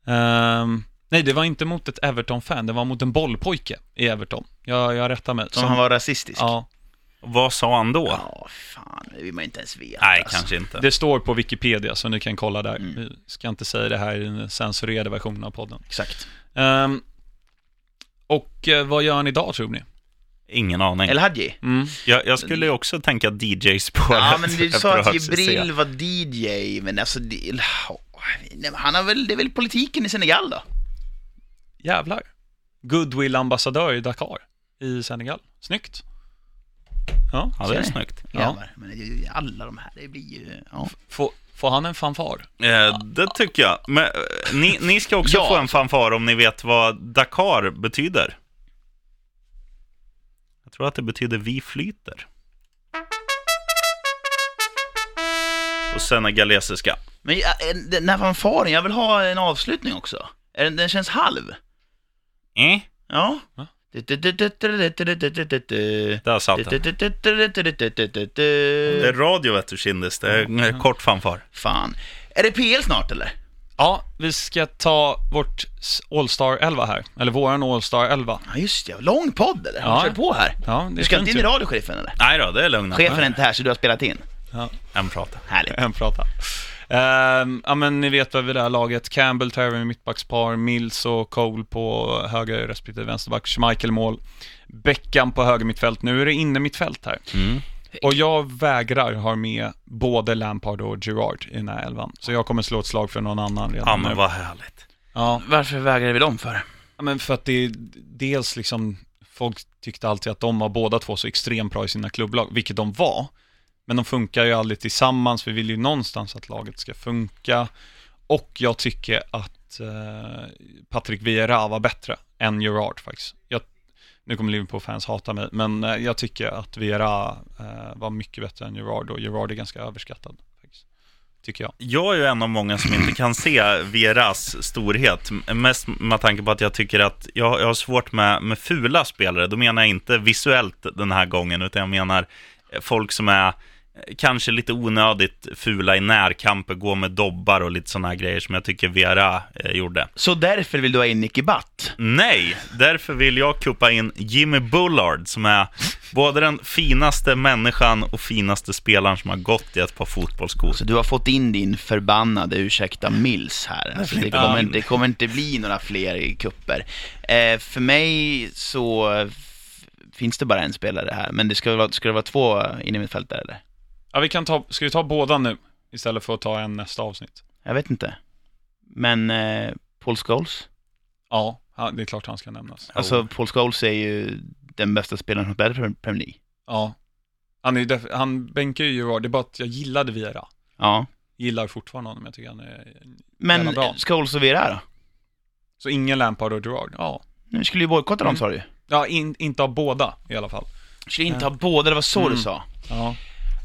Speaker 1: Ehm, nej, det var inte mot ett Everton-fan, det var mot en bollpojke i Everton. Jag, jag rättar mig.
Speaker 2: Som
Speaker 1: Som-
Speaker 2: han var rasistisk.
Speaker 1: Ja,
Speaker 3: Vad sa han då?
Speaker 2: Ja, fan, det vill man inte ens veta.
Speaker 3: Nej,
Speaker 2: alltså.
Speaker 3: kanske inte.
Speaker 1: Det står på Wikipedia, så ni kan kolla där.
Speaker 2: Mm.
Speaker 1: Vi ska inte säga det här i den censurerade versionen av podden.
Speaker 2: Exakt.
Speaker 1: Ehm, och eh, vad gör han idag, tror ni?
Speaker 3: Ingen aning.
Speaker 2: El Hadji?
Speaker 3: Jag, jag skulle ju också tänka DJ-spåret.
Speaker 2: Ja, men du
Speaker 3: efter
Speaker 2: sa
Speaker 3: att ha
Speaker 2: att
Speaker 3: hört
Speaker 2: Jibril
Speaker 3: se.
Speaker 2: var DJ, men alltså... Det, ja, nej, men han har väl, det är väl politiken i Senegal då?
Speaker 1: Jävlar. Goodwill-ambassadör i Dakar, i Senegal. Snyggt. Ja.
Speaker 3: Ja, det är
Speaker 2: Ser ni?
Speaker 3: snyggt.
Speaker 1: Ja.
Speaker 2: Jävlar, men det är ju alla de här, det blir ju... Ja.
Speaker 1: Får, får han en fanfar?
Speaker 3: Eh, det tycker jag. Men eh, ni, ni ska också
Speaker 2: Ja.
Speaker 3: få en fanfar om ni vet vad Dakar betyder. Jag tror att det betyder vi flyter. På senegalesiska.
Speaker 2: Men ja, en- den här fanfaren, jag vill ha en avslutning också. Är Den, den känns halv.
Speaker 3: Eh?
Speaker 2: Ja.
Speaker 1: Va?
Speaker 3: Där satt den. Det är radio vet du Kindis, det är en kort fanfar.
Speaker 2: Fan. Är det PL snart eller?
Speaker 1: Ja, vi ska ta vårt All-Star 11 här. Eller våran All-Star 11.
Speaker 2: Ja just det, lång podd eller? Ja.
Speaker 1: Ja.
Speaker 2: Kör på här.
Speaker 1: Ja, det
Speaker 2: Du ska
Speaker 1: är
Speaker 2: inte
Speaker 1: fint
Speaker 2: in i
Speaker 1: ju.
Speaker 2: radiochefen eller?
Speaker 3: Nej då, det är lugnt.
Speaker 2: Chefen är inte här så du har spelat in.
Speaker 1: Ja.
Speaker 3: En prata.
Speaker 2: Härligt.
Speaker 1: En prata. Ehm, ja, men ni vet väl vid det här laget. Campbell tar över i mittbackspar, Mills och Cole på höger respektive vänsterback, Schmeichel mål, Beckham på höger mittfält. Nu är det inne mittfält här.
Speaker 3: Mm.
Speaker 1: Och jag vägrar ha med både Lampard och Gerard i den här elvan. Så jag kommer slå ett slag för någon annan redan
Speaker 3: Ja
Speaker 1: nu.
Speaker 3: men vad härligt.
Speaker 1: Ja,
Speaker 2: Varför vägrar vi dem för?
Speaker 1: Ja, men för att det är dels liksom, folk tyckte alltid att de var båda två så extremt bra i sina klubblag, vilket de var. Men de funkar ju aldrig tillsammans, vi vill ju någonstans att laget ska funka. Och jag tycker att eh, Patrick Vieira var bättre än Gerard faktiskt. Jag, nu kommer Liverpool-fans hata mig, men eh, jag tycker att Vieira eh, var mycket bättre än Gerard och Gerard är ganska överskattad. faktiskt. Tycker jag.
Speaker 3: Jag är ju en av många som inte kan se Veras storhet. m- Mest med tanke på att jag tycker att jag, jag har svårt med, med fula spelare. Då menar jag inte visuellt den här gången, utan jag menar eh, folk som är eh, kanske lite onödigt fula i närkamper, går med dobbar och lite sådana här grejer som jag tycker Vera eh, gjorde.
Speaker 2: Så därför vill du ha in Nicky Butt?
Speaker 3: Nej, därför vill jag kuppa in Jimmy Bullard som är både den finaste människan och finaste spelaren som har gått i ett par fotbollsskor.
Speaker 2: Så du har fått in din förbannade ursäkta Mills här. Alltså, det,
Speaker 3: flyttar
Speaker 2: kommer,
Speaker 3: in.
Speaker 2: det kommer inte bli några fler kupper. Eh, för mig så f- finns det bara en spelare här, men det ska, vara, ska det vara två inne i mitt fält där eller?
Speaker 1: Ja, vi kan ta, ska vi ta båda nu istället för att ta en nästa avsnitt?
Speaker 2: Jag vet inte. Men eh, Paul Scholes?
Speaker 1: Ja, han- det är klart han ska nämnas.
Speaker 2: Alltså Paul Scholes är ju den bästa spelaren som spelar för Premier League.
Speaker 1: Ja. Han, är ju def- han bänkar ju Gerard, det är bara att jag gillade Vieira.
Speaker 2: Ja.
Speaker 1: Gillar fortfarande honom, jag tycker han är...
Speaker 2: Men
Speaker 1: Jävla bra.
Speaker 2: Scholes och Vera då?
Speaker 1: Så ingen Lampard och Gerard? Ja.
Speaker 2: Nu skulle ju bojkotta dem
Speaker 1: Mm.
Speaker 2: sa du ju.
Speaker 1: Ja, in, inte av båda i alla fall.
Speaker 2: Skulle inte ha båda, det var så du
Speaker 1: Mm.
Speaker 2: sa.
Speaker 1: Ja.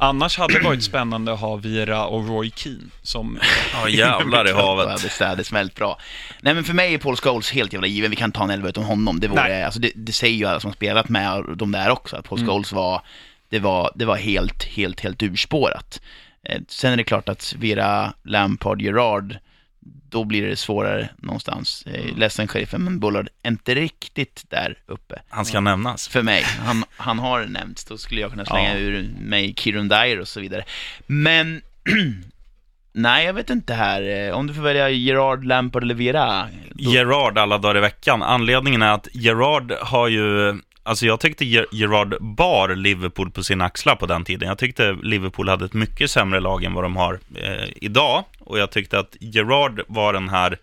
Speaker 1: Annars hade det varit spännande att ha Vieira och Roy Keane som...
Speaker 3: Ja jävlar i
Speaker 2: Ja,
Speaker 3: havet.
Speaker 2: det städade smält bra. Nej men för mig är Paul Scholes helt jävla given, vi kan ta en elva utom honom. Det, vore,
Speaker 1: Nej.
Speaker 2: alltså, det, det säger ju alla som har spelat med de där också, att Paul Scholes var, det var, det var helt, helt, helt urspårat. Eh, Sen är det klart att Vera, Lampard, Gerard, då blir det svårare någonstans. Mm. Ledsen sheriffen, men Bullard är inte riktigt där uppe.
Speaker 3: Han ska nämnas.
Speaker 2: För mig. Han, han har nämnts, då skulle jag kunna slänga
Speaker 3: Ja.
Speaker 2: ur mig Kirun Dyer och så vidare. Men, nej jag vet inte här. Eh, Om du får välja Gerard, Lampard eller Vera. Då,
Speaker 3: Gerard alla dagar i veckan. Anledningen är att Gerard har ju... Alltså jag tyckte Ger- Gerard bar Liverpool på sina axlar på den tiden. Jag tyckte Liverpool hade ett mycket sämre lag än vad de har eh, idag. Och jag tyckte att Gerard var den här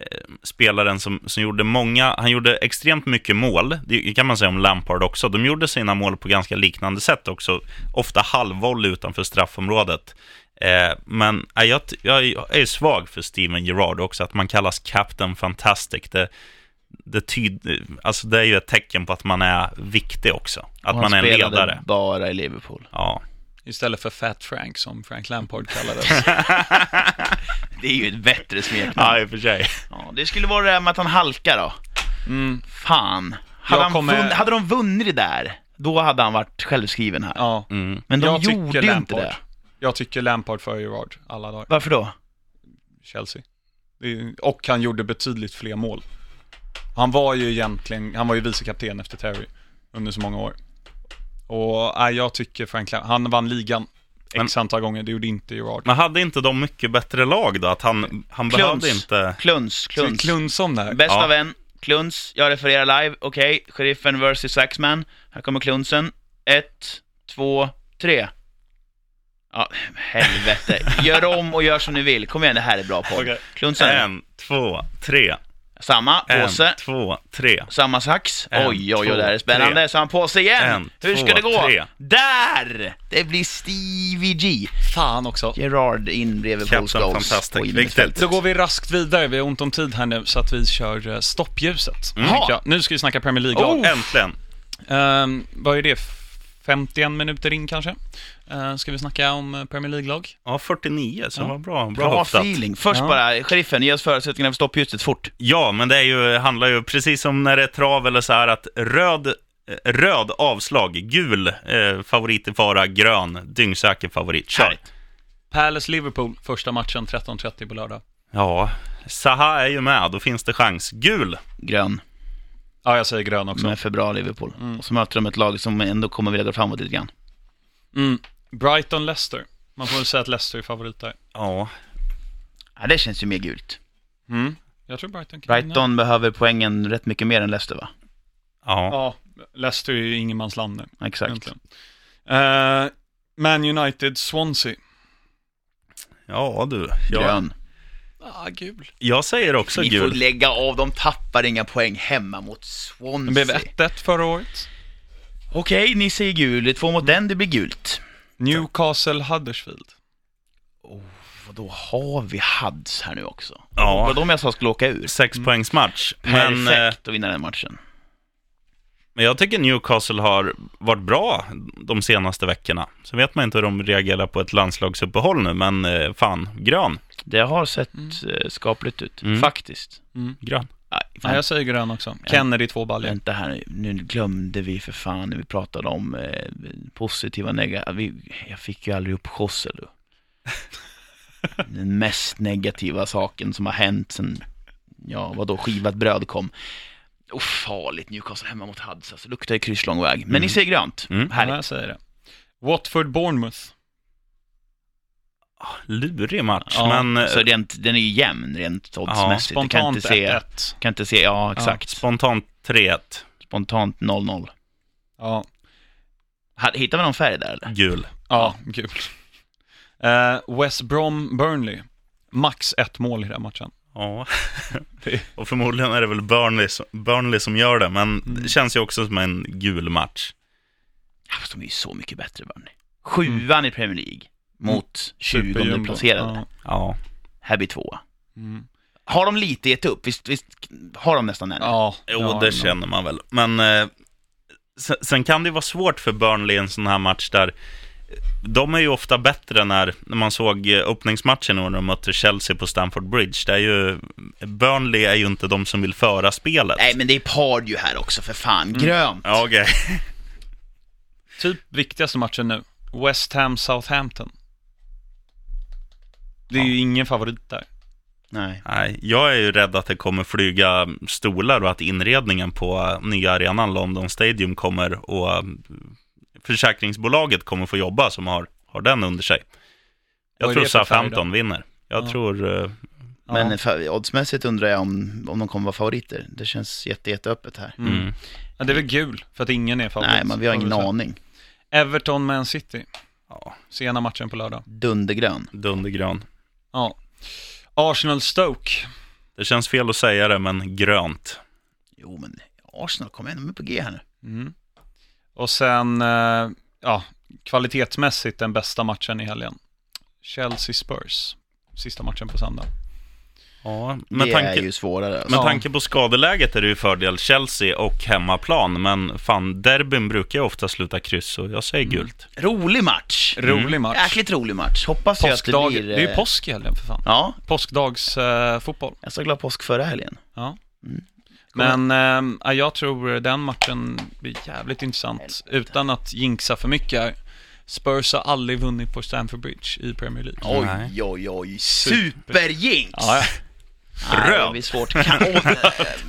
Speaker 3: eh, spelaren som, som gjorde många, han gjorde extremt mycket mål, det kan man säga om Lampard också. De gjorde sina mål på ganska liknande sätt också, ofta halvvolley utanför straffområdet. Eh, men eh, jag, t- jag, är- jag är svag för Steven Gerrard också, att man kallas Captain Fantastic. Det, det, tyd, alltså det är ju ett tecken på att man är viktig också, att
Speaker 2: han
Speaker 3: man är en
Speaker 2: spelade
Speaker 3: ledare.
Speaker 2: bara i Liverpool.
Speaker 3: Ja.
Speaker 1: Istället för Fat Frank som Frank Lampard kallades.
Speaker 2: Det är ju ett bättre smeknamn.
Speaker 3: ja, i och för sig.
Speaker 2: Ja, det skulle vara det här med att han halkar då.
Speaker 1: Mm,
Speaker 2: Fan. Hade,
Speaker 1: Jag
Speaker 2: han
Speaker 1: kommer-
Speaker 2: vunn, hade de vunnit det där, då hade han varit självskriven här.
Speaker 1: ja.
Speaker 3: Mm.
Speaker 2: Men de
Speaker 1: jag
Speaker 2: gjorde
Speaker 1: tycker
Speaker 2: ju inte
Speaker 1: Lampard.
Speaker 2: det.
Speaker 1: Jag tycker Lampard för Gerard alla dagar.
Speaker 2: Varför då?
Speaker 1: Chelsea. Det är- Och han gjorde betydligt fler mål. Han var ju egentligen, han var ju vicekapten efter Terry under så många år. Och äh, jag tycker Frank Lampard, han vann ligan x antal gånger, det gjorde inte Gerard.
Speaker 3: Men hade inte de mycket bättre lag då? Att han, han behövde inte...
Speaker 2: Kluns,
Speaker 1: Ska vi
Speaker 2: kluns.
Speaker 1: klunsa om det här?
Speaker 2: Bäst
Speaker 3: Ja.
Speaker 2: av en, Kluns, jag refererar live, okej, Sheriffen vs Saxman, här kommer Klunsen. Ett, två, tre. Ja, helvete. Gör om och gör som ni vill, kom igen, det här är bra podd.
Speaker 1: Okej.
Speaker 2: Klunsen,
Speaker 3: En, två, tre.
Speaker 2: samma påse,
Speaker 3: En, två, tre.
Speaker 2: samma sax.
Speaker 3: En,
Speaker 2: oj, oj,
Speaker 3: två,
Speaker 2: oj, det här är spännande.
Speaker 3: tre.
Speaker 2: Samma påse igen.
Speaker 3: En,
Speaker 2: Hur ska
Speaker 3: två,
Speaker 2: det gå?
Speaker 3: tre.
Speaker 2: Där! Det blir Stevie G.
Speaker 1: Fan också.
Speaker 2: Gerard in bredvid Paul
Speaker 3: Captain
Speaker 2: Scholes.
Speaker 3: Fantastic,
Speaker 2: på
Speaker 3: viktigt.
Speaker 1: Då går vi raskt vidare, vi har ont om tid här nu, så att vi kör eh, stoppljuset.
Speaker 2: Jaha.
Speaker 3: Oh!
Speaker 1: tänker jag. Nu ska vi snacka Premier League-lag.
Speaker 3: Äntligen.
Speaker 1: Ehm, vad är det? 51 minuter in kanske. Eh, ska vi snacka om eh, Premier League-lag?
Speaker 3: Ja, 49, så
Speaker 1: Ja.
Speaker 3: det var bra. Bra,
Speaker 2: Bra
Speaker 3: höftat.
Speaker 2: feeling. Först
Speaker 1: Ja.
Speaker 2: bara, sheriffen, ge oss förutsättningarna för stoppljuset fort.
Speaker 3: Ja, men det är ju, handlar ju precis som när det är trav eller så här att röd, eh, röd avslag, gul eh, favorit i fara, grön dyngsäker favorit. Kör!
Speaker 2: Härligt.
Speaker 1: Palace-Liverpool, första matchen 13.30 på lördag.
Speaker 3: Ja, Saha är ju med, då finns det chans. Gul!
Speaker 2: Grön,
Speaker 1: Ja, jag säger grön också.
Speaker 2: som är för bra Liverpool. Och så möter de ett lag som ändå kommer vilja gå framåt lite grann.
Speaker 1: Mm. Brighton-Leicester. Man får väl säga att Leicester är favorit där.
Speaker 3: Ja,
Speaker 2: Ja, det känns ju mer gult.
Speaker 1: Mm. Jag tror Brighton kan vinna.
Speaker 2: Brighton behöver poängen rätt mycket mer än Leicester va?
Speaker 3: ja.
Speaker 1: Ja, Leicester är ju ingenmansland nu.
Speaker 2: Exakt.
Speaker 1: egentligen. Eh, Man United-Swansea.
Speaker 3: Ja, du. Jag,
Speaker 2: Grön.
Speaker 1: Ah, gul.
Speaker 3: jag säger också
Speaker 2: Ni får
Speaker 3: gul.
Speaker 2: lägga av, de tappar inga poäng hemma mot
Speaker 1: Det blev
Speaker 2: Swansea.
Speaker 1: 1-1 förra året.
Speaker 2: Okej, ni säger gul. Det är Två mot den, det blir gult.
Speaker 1: Newcastle-Huddersfield.
Speaker 2: Och då har vi Hads här nu också.
Speaker 3: Ja.
Speaker 2: Det var de jag sa skulle åka ur.
Speaker 3: Sexpoängsmatch. Men eh,
Speaker 2: Mm. Perfekt att vinna den matchen.
Speaker 3: men jag tycker Newcastle har varit bra de senaste veckorna. Så vet man inte hur de reagerar på ett landslagsuppehåll nu, men eh, fan, grön.
Speaker 2: Det har sett eh, skapligt ut,
Speaker 3: Mm.
Speaker 2: faktiskt.
Speaker 3: Grön.
Speaker 2: Nej,
Speaker 1: Nej,
Speaker 2: fan.
Speaker 1: jag säger grön också. Kennedy två baljor.
Speaker 2: Vänta här nu, nu glömde vi för fan när vi pratade om eh, positiva och negativa. Jag fick ju aldrig upp José du. Den mest negativa saken som har hänt sen, ja vadå, skivat bröd kom. Oh, farligt Newcastle hemma mot Hudds, alltså luktar ju kryss lång väg. Men ni ser grönt,
Speaker 3: Mm.
Speaker 1: Ja,
Speaker 2: härligt.
Speaker 1: jag säger det. Watford-Bournemouth.
Speaker 3: Lurig match,
Speaker 1: Ja,
Speaker 3: men... eh,
Speaker 2: Så rent, den är ju jämn rent oddsmässigt. Ja, kan
Speaker 1: Spontant
Speaker 2: inte se,
Speaker 1: 1-1.
Speaker 2: kan inte se, ja exakt.
Speaker 3: eh, Spontant 3-1,
Speaker 2: Spontant 0-0.
Speaker 1: Ja,
Speaker 2: Ha- Hittar vi någon färg där eller?
Speaker 3: gul.
Speaker 1: ja, gul. Eh, West Brom-Burnley. Max ett mål i den här matchen.
Speaker 3: Ja, och förmodligen är det väl Burnley som, Burnley som gör det, men det känns ju också som en gul match.
Speaker 2: Ja, fast de är ju så mycket bättre Burnley. Sjuan i Premier League mot 20
Speaker 1: Mm. Superjumbo.
Speaker 2: placerade.
Speaker 1: Ja.
Speaker 3: Ja.
Speaker 2: Här blir tvåa.
Speaker 1: Mm.
Speaker 2: Har de lite gett upp? Visst, visst har de nästan en?
Speaker 1: Ja,
Speaker 3: Jo,
Speaker 1: ja,
Speaker 3: det
Speaker 1: ja.
Speaker 3: känner man väl. Men eh, sen, sen kan det ju vara svårt för Burnley i en sån här match där eh, de är ju ofta bättre när, när man såg eh, öppningsmatchen när de mötte Chelsea på Stamford Bridge. Det är ju, Burnley är ju inte de som vill föra spelet.
Speaker 2: Nej men det är Pardew här också för fan.
Speaker 1: Mm.
Speaker 2: Grönt.
Speaker 3: Ja, okej.
Speaker 1: Typ viktigaste matchen nu. West Ham-Southampton. Det är ju ingen favorit där.
Speaker 2: Nej.
Speaker 3: Nej, jag är ju rädd att det kommer flyga stolar och att inredningen på eh, nya arenan London Stadium kommer och eh, försäkringsbolaget kommer få jobba som har, har den under sig.
Speaker 1: Vad
Speaker 3: Jag
Speaker 1: är
Speaker 3: tror
Speaker 1: det för färg
Speaker 3: Southampton vinner. Jag
Speaker 1: Ja.
Speaker 3: tror... eh,
Speaker 1: Ja.
Speaker 2: Men för, oddsmässigt undrar jag om, om de kommer vara favoriter. Det känns jätte, jätteöppet här.
Speaker 1: Mm.
Speaker 3: Mm.
Speaker 1: Ja, det är väl gul, för att ingen är favorit.
Speaker 2: Nej, men vi har ingen
Speaker 1: Favorit.
Speaker 2: aning.
Speaker 1: Everton Man City,
Speaker 3: Ja,
Speaker 1: sena matchen på lördag.
Speaker 2: Dundergrön.
Speaker 3: dundergrön.
Speaker 1: Ja. Arsenal Stoke.
Speaker 3: Det känns fel att säga det, men grönt.
Speaker 2: Jo, men Arsenal, kom igen, de är på G här nu.
Speaker 1: Mm. Och sen, eh, ja, kvalitetsmässigt den bästa matchen i helgen. Chelsea Spurs, sista matchen på söndag.
Speaker 3: Ja,
Speaker 2: det
Speaker 3: med
Speaker 2: är
Speaker 3: tanke,
Speaker 2: ju svårare. Alltså.
Speaker 3: med
Speaker 1: Ja.
Speaker 3: tanke på skadeläget är det ju fördel Chelsea och hemmaplan, men fan, derbyn brukar ju ofta sluta kryss, så jag
Speaker 1: Mm.
Speaker 3: säger gult.
Speaker 2: Rolig match.
Speaker 1: Rolig match.
Speaker 2: Jäkligt rolig match. Hoppas ju att det
Speaker 1: Påskdag,
Speaker 2: blir...
Speaker 1: det är ju
Speaker 2: eh,
Speaker 1: påsk i helgen för fan.
Speaker 2: Ja,
Speaker 1: Påskdagsfotboll.
Speaker 2: jag sa glad påsk förra helgen.
Speaker 1: Ja.
Speaker 2: Mm.
Speaker 1: Men eh, ja, jag tror den matchen blir jävligt intressant. Utan att jinxa för mycket här. Spurs har aldrig vunnit på Stamford Bridge i Premier League.
Speaker 3: Nej.
Speaker 2: Oj, oj, oj. Superjinx!
Speaker 1: Ja, ja.
Speaker 2: Nej, det
Speaker 3: Röd.
Speaker 2: blir svårt. Kan- Åh,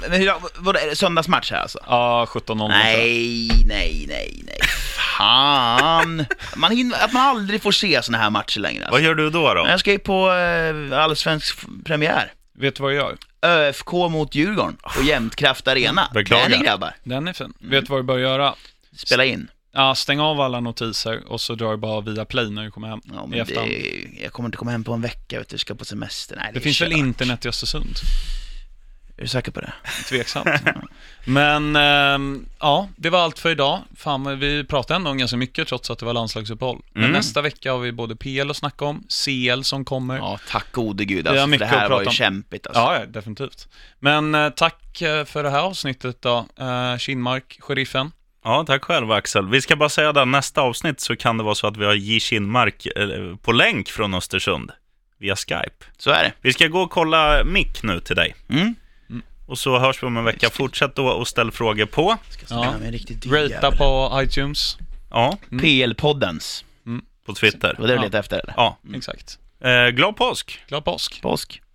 Speaker 2: Men hur, vad är det, söndagsmatch här alltså?
Speaker 1: Ja, 17-0.
Speaker 2: Nej, nej, nej, nej. Fan! Man hinner, att man aldrig får se såna här matcher längre
Speaker 3: Vad
Speaker 2: alltså.
Speaker 3: gör du då? då?
Speaker 2: Men Jag ska ju på eh, allsvensk f- premiär.
Speaker 1: Vet du vad jag gör?
Speaker 2: ÖFK mot Djurgården på Jämtkraft Arena.
Speaker 3: Beklagar.
Speaker 2: Den är grabbar.
Speaker 1: Den är fin.
Speaker 2: Mm.
Speaker 1: Vet du vad du bör göra?
Speaker 2: Spela in.
Speaker 1: Ja, stäng av alla notiser och så drar du bara via play när du kommer hem
Speaker 2: Ja,
Speaker 1: i
Speaker 2: men
Speaker 1: efterhand. Det,
Speaker 2: det, jag kommer inte komma hem på en vecka, vet du. Jag ska på semester. Nej, det, är
Speaker 1: finns väl
Speaker 2: kört.
Speaker 1: internet i Östersund?
Speaker 2: Är du säker på det?
Speaker 1: Tveksamt. Men ehm, ja, det var allt för idag. Fan, men vi pratade ändå om ganska mycket trots att det var landslagsuppehåll. Men
Speaker 3: Mm.
Speaker 1: nästa vecka har vi både PL att snacka om, CL som kommer. Ja,
Speaker 2: Ja, tack gode gud
Speaker 1: Vi har
Speaker 2: alltså, för det
Speaker 1: mycket att
Speaker 2: här var
Speaker 1: prata
Speaker 2: ju
Speaker 1: om.
Speaker 2: kämpigt alltså.
Speaker 1: ja, definitivt. Men eh, tack eh, för det här avsnittet då, eh, Kinmark, sheriffen.
Speaker 3: Ja, tack själv Axel. Vi ska bara säga det, nästa avsnitt så kan det vara så att vi har J. Kinmark eh, på länk från Östersund via Skype.
Speaker 2: Så är det.
Speaker 3: Vi ska gå och kolla mick nu till dig.
Speaker 2: Mm.
Speaker 3: Och så hörs vi om en vecka. Fortsätt då och ställ frågor på.
Speaker 2: Ska
Speaker 1: Ja.
Speaker 2: ja. en riktigt dyr
Speaker 1: Rata
Speaker 2: jävel.
Speaker 1: på iTunes.
Speaker 3: Ja,
Speaker 2: PL-poddens.
Speaker 3: på Twitter.
Speaker 2: Det var det du
Speaker 1: Ja.
Speaker 2: letade efter eller?
Speaker 3: Ja.
Speaker 1: Exakt.
Speaker 3: Eh, glad påsk!
Speaker 1: Glad påsk.
Speaker 2: Påsk.